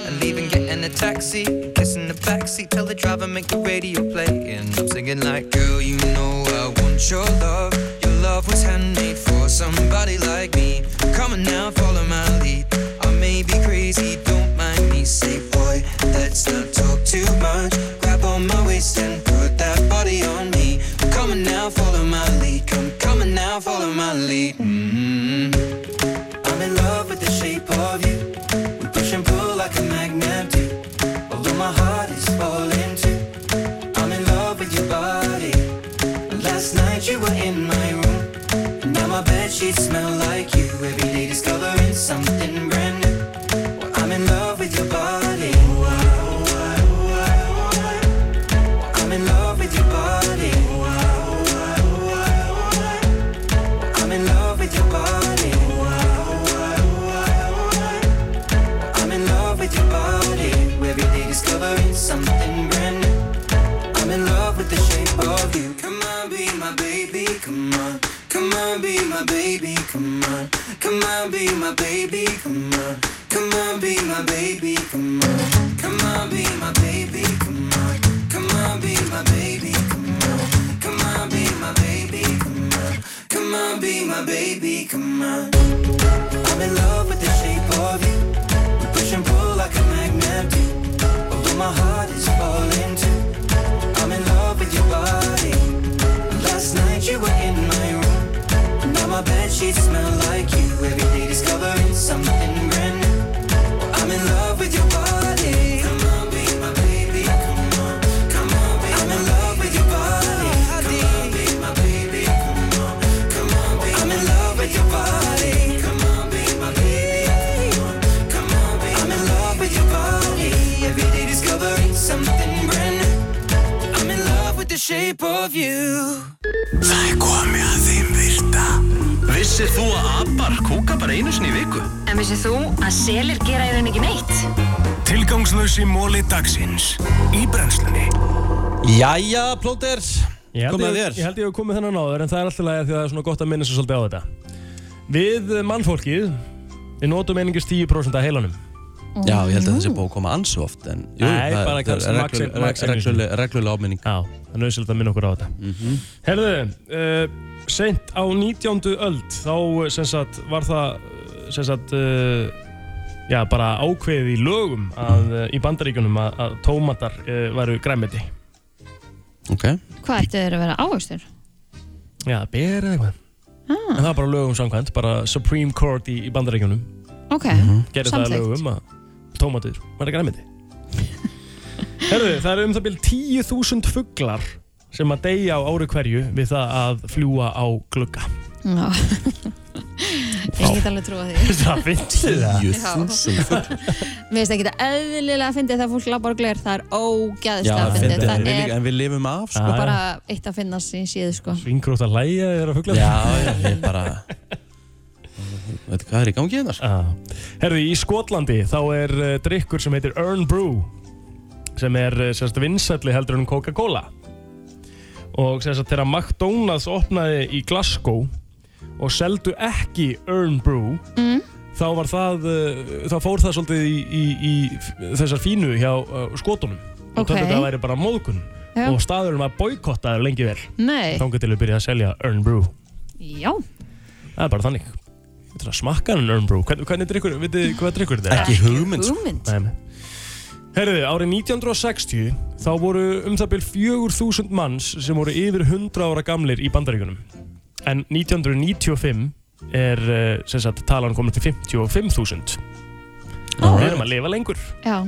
S21: And leaving, getting a taxi, kissing the backseat, tell the driver make the radio play. And I'm singing like, girl, you know I want your love. Your love was handmade for somebody like me. Come on now, follow my lead. I may be crazy, don't mind me. Say, boy, let's not talk too much. Grab on my waist and put that body on me. Come on now, follow my lead. Come, come on now, follow my lead. Mm. I'm in love with the shape of you. We push and pull like a magnet do. Although my heart is falling too. I'm in love with your body. Last night you were in my room. And now my bed sheets smell like you. Every day discovering something brand new. Well, I'm in love with your body. Ooh, ah, ooh, ah, ooh, ah, ooh, ah. Well, I'm in love with your body. Ooh, ah, ooh, ah, ooh, ah, ooh, ah. Well, I'm in love with your body. Ooh, ah, ooh, ah, ooh, ah, ooh, ah. Well, I'm in love with your body. Every day discovering something brand new. I'm in love with the shape of you. Come on, be my baby, come on. Come on, be my baby, come on. Come on, be my baby, come on. Come on, be my baby, come on. Come on, be my baby, come on. Come on, be my baby, come on. Come on, be my baby, come on. Come on, be my baby, come on. I'm in love with the shape of you. We push and pull like a magnet do. Although my heart is falling too. I'm in love with your body. Last night you were in my room. Now my bed sheets smell like you. Every day discovering something brand new. Well, I'm in love with your body. Come on, be my baby. Come on, come on, be I'm in love with your body. Come on, be my baby. Come on, come on, be I'm in love with your body. Come on, be my baby. Come on, come on, be I'm in love with your body. Every day discovering something brand new. I'm in love with the shape of you
S24: Það er komið að þeim virta Vissir þú að abar kúka bara einu sinni í viku?
S8: En vissið þú að selir gera í raun ekki neitt?
S24: Tilgangslösi móli dagsins Í brennslunni
S1: Jæja, plóter
S3: Ég held
S1: Komið
S3: ég-
S1: að þér.
S3: Ég held ég hef komið þennan áður en það er alltaf lægja því að það er svona gott að minna sér svolítið á þetta. Við eh, mannfólkið, við notum einingist 10% af heilanum.
S1: Já, ég held að þessi bók koma ansi oft en jú,
S3: Nei,
S1: það-
S3: bara
S1: það
S3: kannski
S1: er
S3: max-
S1: reglul-
S3: max einu sinni.
S1: regluleg- regluleg áminning
S3: Já, það er nöðsilegt að minna okkur á þetta
S1: Mhm.
S3: Herðu, uh, sent á 19. öld þá eh, sem sagt var það eh, sem sagt uh, já, bara ákveðið í lögum að, uh, í bandaríkunum að, að tómatar uh, væru græmiti
S2: Hvað ættu þeir að vera áhugstur?
S3: Já, ber eða eitthvað En það var bara lögum samkvæmt, bara Supreme Court í, í bandaríkunum
S2: Ok,
S3: Gerði Mhm. það að
S2: samþykkt
S3: lögum að tómatur væri græmiti Herðu, það eru um það byrjum 10.000 fuglar sem að deyja á ári hverju við það að fljúa á glugga
S2: Já. Ég get alveg trúa því
S3: Það finnst þið það?
S1: 10.000
S2: fugl Mér finnst ekki þetta eðlilega að fyndi það fólk labbar og gler, það er ógæðslega að fyndi
S1: fyndið.
S2: það
S1: Við
S2: er
S1: líka- en við lifum af
S2: sko
S1: sko.
S2: bara eitt að finna sín síðu sko
S3: Svingrótt að læja þeirra fugla
S1: Já, já, ég bara veit hvað er í gangi hérna? þetta
S3: ah. Herði, í Skotlandi þá er uh, drikkur sem heitir Earn Brew sem er uh, sérst vinsælli heldur en Coca-Cola og sérst þegar McDonalds opnaði í Glasgow og seldu ekki Earn Brew
S2: Mm.
S3: þá var það uh, þá fór það svolítið í, í, í f- þessar fínu hjá uh, skotunum og
S2: Ok.
S3: töldu þetta að væri bara móðkun
S2: Já.
S3: og staðurinn var boykottaður lengi vel
S2: Nei.
S3: þángu til að byrja að selja Earn Brew
S2: Já.
S3: Það er bara þannig Þetta er að smakka hann Earn Brew Hvernig, hvernig drikkur, vitið þið hvað drikkur þetta
S1: Ekki hugmynd, sko.
S2: Hugmynd.
S3: Nei, nei. Herðu, árið 1960 þá voru um það byrj 4000 manns sem voru yfir 100 ára gamlir í bandaríkunum en 1995 er eh, sem sagt talan komin til 55.000 og við erum að lifa lengur
S2: Já,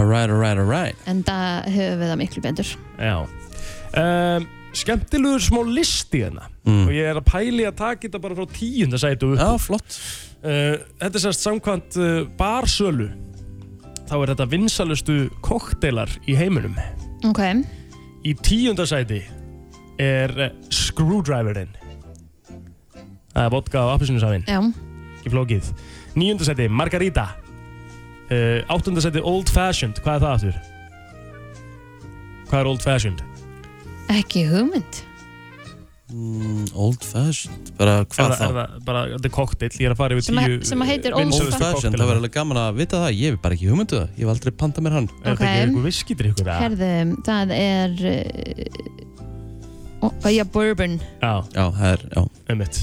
S1: Alright, alright, alright
S2: en það höfum við það miklu betur.
S3: Já um, Skemmtilegur smá listi hérna
S1: Mm.
S3: og ég er að pæli að taka þetta bara frá tíunda sætu
S1: Já, flott
S3: Eh, Þetta er sérst samkvæmt uh, barsölu þá er þetta vinsalustu kokteilar í heiminum
S2: Ok.
S3: Í tíunda sæti er uh, Screwdriverinn Það er vodka á appisunusafinn
S2: Já.
S3: Ekki flókið Níunda sæti, Margarita uh, Áttunda sæti, Old Fashioned Hvað er það aftur? Hvað er Old Fashioned?
S2: Ekki hugmynd.
S1: mm, Old fashioned, bara hvað
S3: er,
S1: þá
S3: það- Er það bara, þetta er kokteil, ég er að fara yfir
S2: Sem að-
S3: tíu
S2: sem að heitir Old
S1: Old
S3: vinsælustu
S1: fashioned,
S3: kokteila.
S1: það verður alveg gaman að vita það Ég hef bara ekki hugmyndu það, ég hef aldrei pantað mér hann
S2: Er þetta ekki Ok. einhver
S3: viskidrykkur
S2: Herðu, það er... Uh, oh, já, bourbon.
S3: Já,
S1: já, það er, já
S3: Einmitt.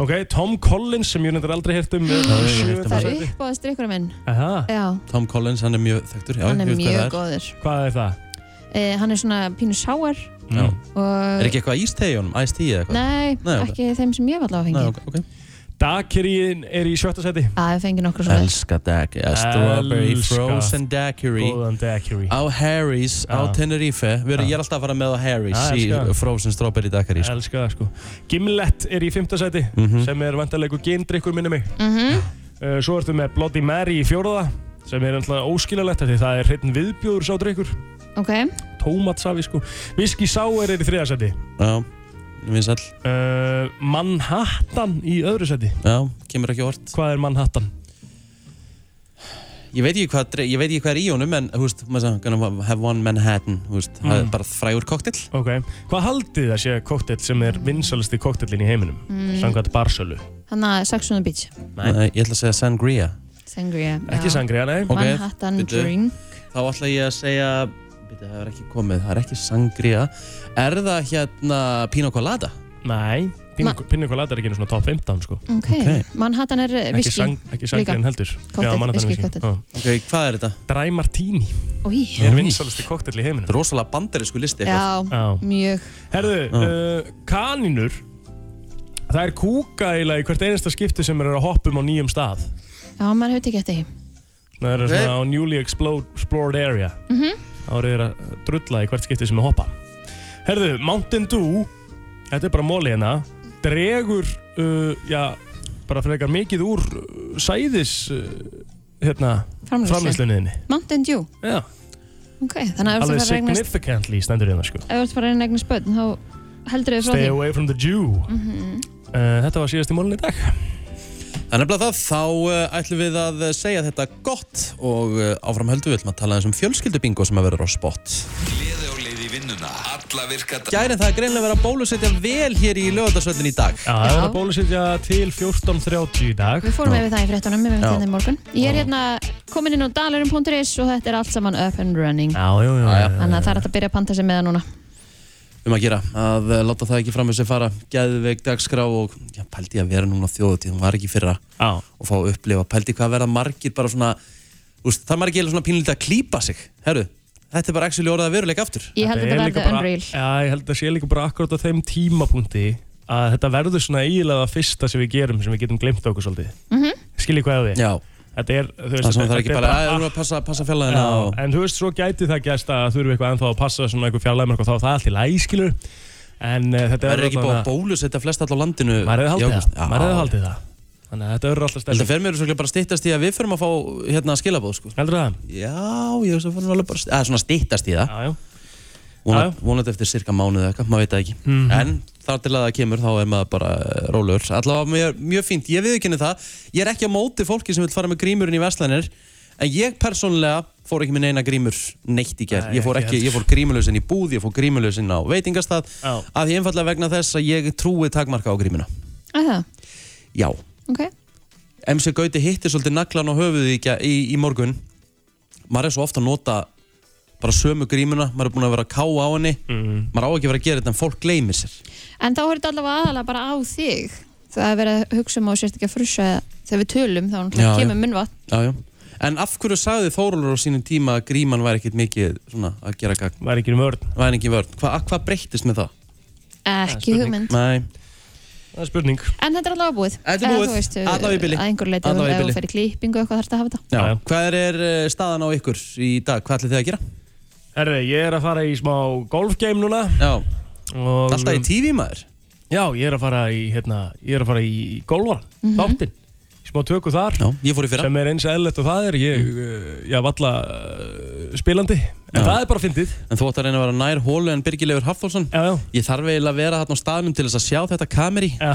S3: Ok, Tom Collins sem ég nefndar aldrei hirt um er
S1: Það er
S3: í
S1: ekki
S3: sjöunda
S2: Það er
S3: sæti.
S2: upp á strikkurum minn.
S3: Aha.
S2: Já,
S1: Tom Collins, hann er mjög þekktur já,
S2: hann er
S1: ég veit hvað
S2: mjög
S1: það
S2: góður.
S3: Hvað er það? Mm.
S2: Eh, hann er svona pínu sáar
S1: Já.
S2: og...
S1: Er ekki eitthvað ístegi honum, æstegi eða eitthvað?
S2: Nei,
S1: Nei, ok.
S2: ekki þeim sem ég var allavega að fengi.
S1: ok, ok
S3: Daiquirin er í sjötta sæti
S2: Það er fengið nokkra svona.
S1: Elska daiquiri, ja, strawberry
S3: Elska.
S1: frozen daiquiri
S3: Góðan daiquiri
S1: Á Harry's, á
S3: Já.
S1: Tenerife Við erum,
S3: Já.
S1: ég er alltaf að fara með á Harry's
S3: Já,
S1: í
S3: Ah, elska.
S1: frozen strawberry daiquiri sko.
S3: Elskar það sko Gimlet er í fymta sæti
S1: Mhm.
S3: sem er vantarlegu gindrykkur minni mig
S2: Mhm.
S3: uh, Svo ertu með Bloody Mary í fjóraða sem er alltaf óskilalegt af því það er hreitn viðbjóður sá drykkur
S2: Ok,
S3: Tómatsafi sko Whisky Sour er í þriða sæti
S1: Já, vinsall
S3: uh, Manhattan í öðru sæti
S1: Já, kemur ekki hort
S3: Hvað er Manhattan?
S1: Ég veit ekki hvað, dre- ég veit ekki hvað er í honum En, hú veist, maður sagði Gonna have one Manhattan, hú veist Það
S3: Mm.
S1: er bara frægur koktill
S3: Ok, hvað haldið það sé koktel sem er vinsalasti koktelin í heiminum?
S2: Mm.
S3: Samkvæmt barsölu
S2: hann er Saxon on the Beach.
S1: Nei. Ég ætla að segja sangria
S2: Sangria. já.
S3: Ekki sangria, nei
S1: Ok,
S2: Manhattan
S1: bíddu.
S2: drink.
S1: Þá ætla ég að segja Býta, það er ekki komið, það er ekki sangria Er það hérna pina colada?
S3: Nei,
S2: Ma-
S3: Pinna Colada er ekki einu svona top 15 sko
S2: Ok, Manhattan er eh,
S3: Ekki,
S2: whisky.
S3: sang, ekki sangriðin heldur
S2: Cocktail,
S3: Já, Manhattan
S2: whisky
S3: whisky.
S2: cocktail.
S3: Já.
S1: Ok, hvað er þetta?
S3: Dry Martini
S2: Í.
S3: er vinsalasti koktel í heiminum
S1: Rosalega bandarísku listi
S2: Já, mjög.
S3: Herðu, uh, kanínur Það er kúka eiginlega í hvert einasta skipti sem er að hoppa um á nýjum stað
S2: Já, maður hefði ekki eftir því.
S3: Það er svona á newly explode- explored area
S2: Mhm.
S3: þá eru þeir að drulla í hvert skipti sem er hoppa Herðu, Mountain Dew Þetta er bara móli hérna Dregur, uh, já bara frekar mikið úr uh, sæðis uh, hérna
S2: Framleiðslu.
S3: framlýsluninni
S2: Mountain Dew.
S3: Já,
S2: Ok, þannig að ef þú
S3: alveg
S2: ert að fara að regnast
S3: significantly stendur hérna sko
S2: ef þú ert að fara að reyna eignast börn þá heldur þau frá
S3: Stay
S2: því
S3: away from the Jew
S2: Mhm.
S3: uh, Þetta var síðast í mólun í dag
S1: Það er nefnilega það, þá uh, ætlum við að uh, segja þetta gott og uh, áfram höldum við ætlum að tala eins um fjölskyldubingo sem að vera á spott.
S5: Gleði á leið í vinnuna Alla virka daga.
S1: Gærin það er greinlega verið að bólusetja vel hér í lögadagsvöldin í dag.
S3: Já, það er að bólusetja til 14.30 í dag
S2: Við fórum yfir það í fréttunum, við
S1: Já.
S2: veitum það í morgun Ég er hérna komin inn á dalarum.is og þetta er allt saman up and running
S3: Já, já, já, já.
S2: Þannig að það er hægt að byrja að panta sig með það núna
S1: Um að gera, að uh, láta það ekki fram með sig fara, gæðveik dagskrá og já, pældi ég að vera núna á þjóðutíð, hún var ekki í fyrra
S3: Já.
S1: og fá að upplifa, pældi hvað að verða margir bara svona, úst, það er margir eiginlega svona pínlítið að klípa sig, herru, þetta er bara actually orðað að veruleika aftur.
S2: Ég held að þetta verði unreal
S3: Já, ég held að sé líka bara akkurat á þeim tímapunkti að þetta verður svona eiginlega það fyrsta sem við gerum sem við getum glemt okkur svolítið
S2: Mhm.
S3: Skiljið hvað ég á því?
S1: Já
S3: Þetta er, þú
S1: Það sem það er
S3: þetta
S1: ekki bara, að það er að passa, passa fjallaðina
S3: Já,
S1: og...
S3: en þú veist, svo gæti það gæst að þurfi eitthvað ennþá að passa svona eitthvað fjarlægmark og þá er það allir læskilur en uh, þetta
S1: Verður
S3: verður
S1: ekki búið að bólusetja flest all á landinu
S3: Maður hefði
S1: í
S3: haldið
S1: ágúst?
S3: það, maður hefði haldið það Þannig að þetta verður alltaf
S1: Þetta
S3: stelur
S1: fer mér svolítið bara stýttast í að við förum að fá hérna skilabóð sko.
S3: Heldur það?
S1: Já, ég veist að fyrir alveg bara að svona stýttast í það
S3: Já, já
S1: Vona- vonandi eftir cirka mánuð eða eitthvað, maður veit það ekki
S3: Mhm.
S1: en þar til að það kemur þá er maður bara eh, rólegur allavega mjög, mjög fínt, ég viðkynni það ég er ekki á móti fólki sem vil fara með grímurinn í verslanir en ég persónlega fór ekki með neina grímur neitt í gerð
S3: Nei,
S1: ég fór,
S3: ekki
S1: ekki- ég fór grímulösinn í búð, ég fór grímulösinn á veitingastað
S3: Já.
S1: af því einfallega vegna þess að ég trúi takmarka á grímuna
S2: Að það,
S1: já,
S2: ok.
S1: MC Gauti hittir svolítið naglan á höfuðu í, gær- í, í morgun maður er svo ofta að nota bara sömu grímuna, maður er búin að vera að káa á henni
S3: Mhm.
S1: maður á ekki að vera að gera þetta en fólk gleymir sér
S2: En þá er þetta allavega aðalega bara á þig. Það er verið að hugsa um á sérst ekki að frussa þegar við tölum, þá náttúrulega
S1: Já, já.
S2: kemur munnvatn.
S1: já, já. en af hverju sagði Þórólur á sínum tíma að gríman væri ekkit mikið svona, að gera gagn
S3: væri ekki um vörn,
S1: væri ekki um vörn. Hva, hvað breyttist með það?
S2: Ekki hugmynd.
S1: Nei.
S3: Mm. það er spurning
S2: En þetta er allavega búið.
S1: Þetta er
S2: Eða
S1: búið.
S2: Þú veist,
S1: Allavega í bili.
S2: Að einhver leiti,
S1: Allavega í
S2: ef
S1: bili.
S2: þú fer í klippingu og eitthvað þarf þetta að hafa þetta.
S1: Já. hvað er eh, staðan á ykkur í dag, hvað ætlið þið að gera?
S3: Herri, ég er að fara í smá golfgame núna
S1: Já
S3: og,
S1: Alltaf í TV maður
S3: Já, ég er að fara í, hérna, ég er að fara í golfan, mm
S1: Mhm.
S3: þáttinn Smá tökur þar
S1: Já, ég fór í fyrra
S3: Sem er eins eðlert og það er, ég, mm. ég valla uh, spilandi En það er bara fyndið
S1: En þú ætti að reyna að vera nær hólu en Birgilegur Hafþórsson
S3: já, já.
S1: Ég þarf eiginlega að vera þarna á staðnum til þess að sjá þetta kameri
S3: Já,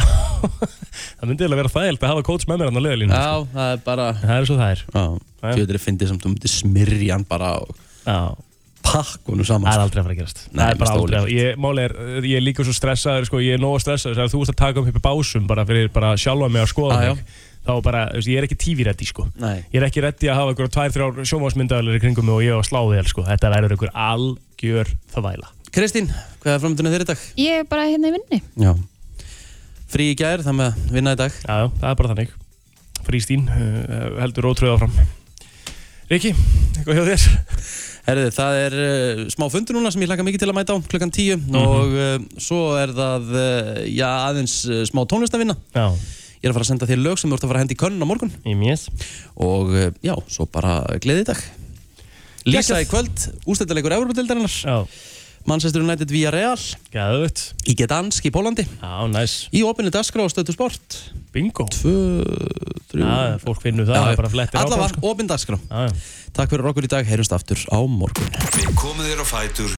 S3: það myndi eiginlega vera þægilt að hafa coach með mér hann á leiðalínu
S1: Já, það er bara
S3: Það er svo það er
S1: Já, fjöður er fyndið samt, þú myndir smyrja hann bara og pakk honum saman
S3: Það er aldrei að fara að gerast
S1: Nei,
S3: það er bara
S1: mest
S3: aldrei
S1: ólíklegt.
S3: að- ég, Máli er, uh, ég er líka svo stressaður sko, Ég er nóg stressaður þegar þú ert að taka um hippi básum bara fyrir bara sjálfa mig að skoða
S1: Ah, Já, já.
S3: mig þá bara, þú veist, ég er ekki tífirætti sko.
S1: Nei.
S3: ég er ekki rétti að hafa einhverja tvær, þrjár sjómásmyndaðalir í kringum mig og ég á að slá þér sko. þetta verður einhver algjör þvæla
S1: Kristín, hvað er framöndunni þeirri í dag?
S2: Ég er bara hérna í vinni.
S1: Já Frí í gær, þannig að vinna í dag
S3: Já, já, það er bara þannig Frístín, uh, heldur ótröð áfram Riki, eitthvað hjá þér?
S1: Herðu, það er uh, smá fundur núna sem ég hlaka mikið til að mæta á klukkan 10
S3: Mhm.
S1: og uh, svo er það uh, já, aðeins uh, smá tónlistavinna
S3: Já.
S1: Ég er að fara að senda þér lög sem þú ert að fara að hendi í könnun á morgun
S3: Í mjöss
S1: Og uh, já, svo bara gleði í dag Lýsa
S3: Gekkað.
S1: í kvöld, ústættilegur Európa-dildarinnar
S3: Já
S1: Manchester United via Real
S3: Gæðvögt
S1: Í Gdansk í Pólandi
S3: Já, næs
S1: Í opinni dagskrá og stötu sport
S3: Bingo
S1: Tvö, þrjú
S3: Já, fólk finnur það, það er bara flettir áfram,
S1: Allavega,
S3: sko.
S1: opinn dagskrá
S3: já, já.
S1: Takk fyrir okkur í dag, heyrjumst aftur á morgun
S5: Við komum þér á fætur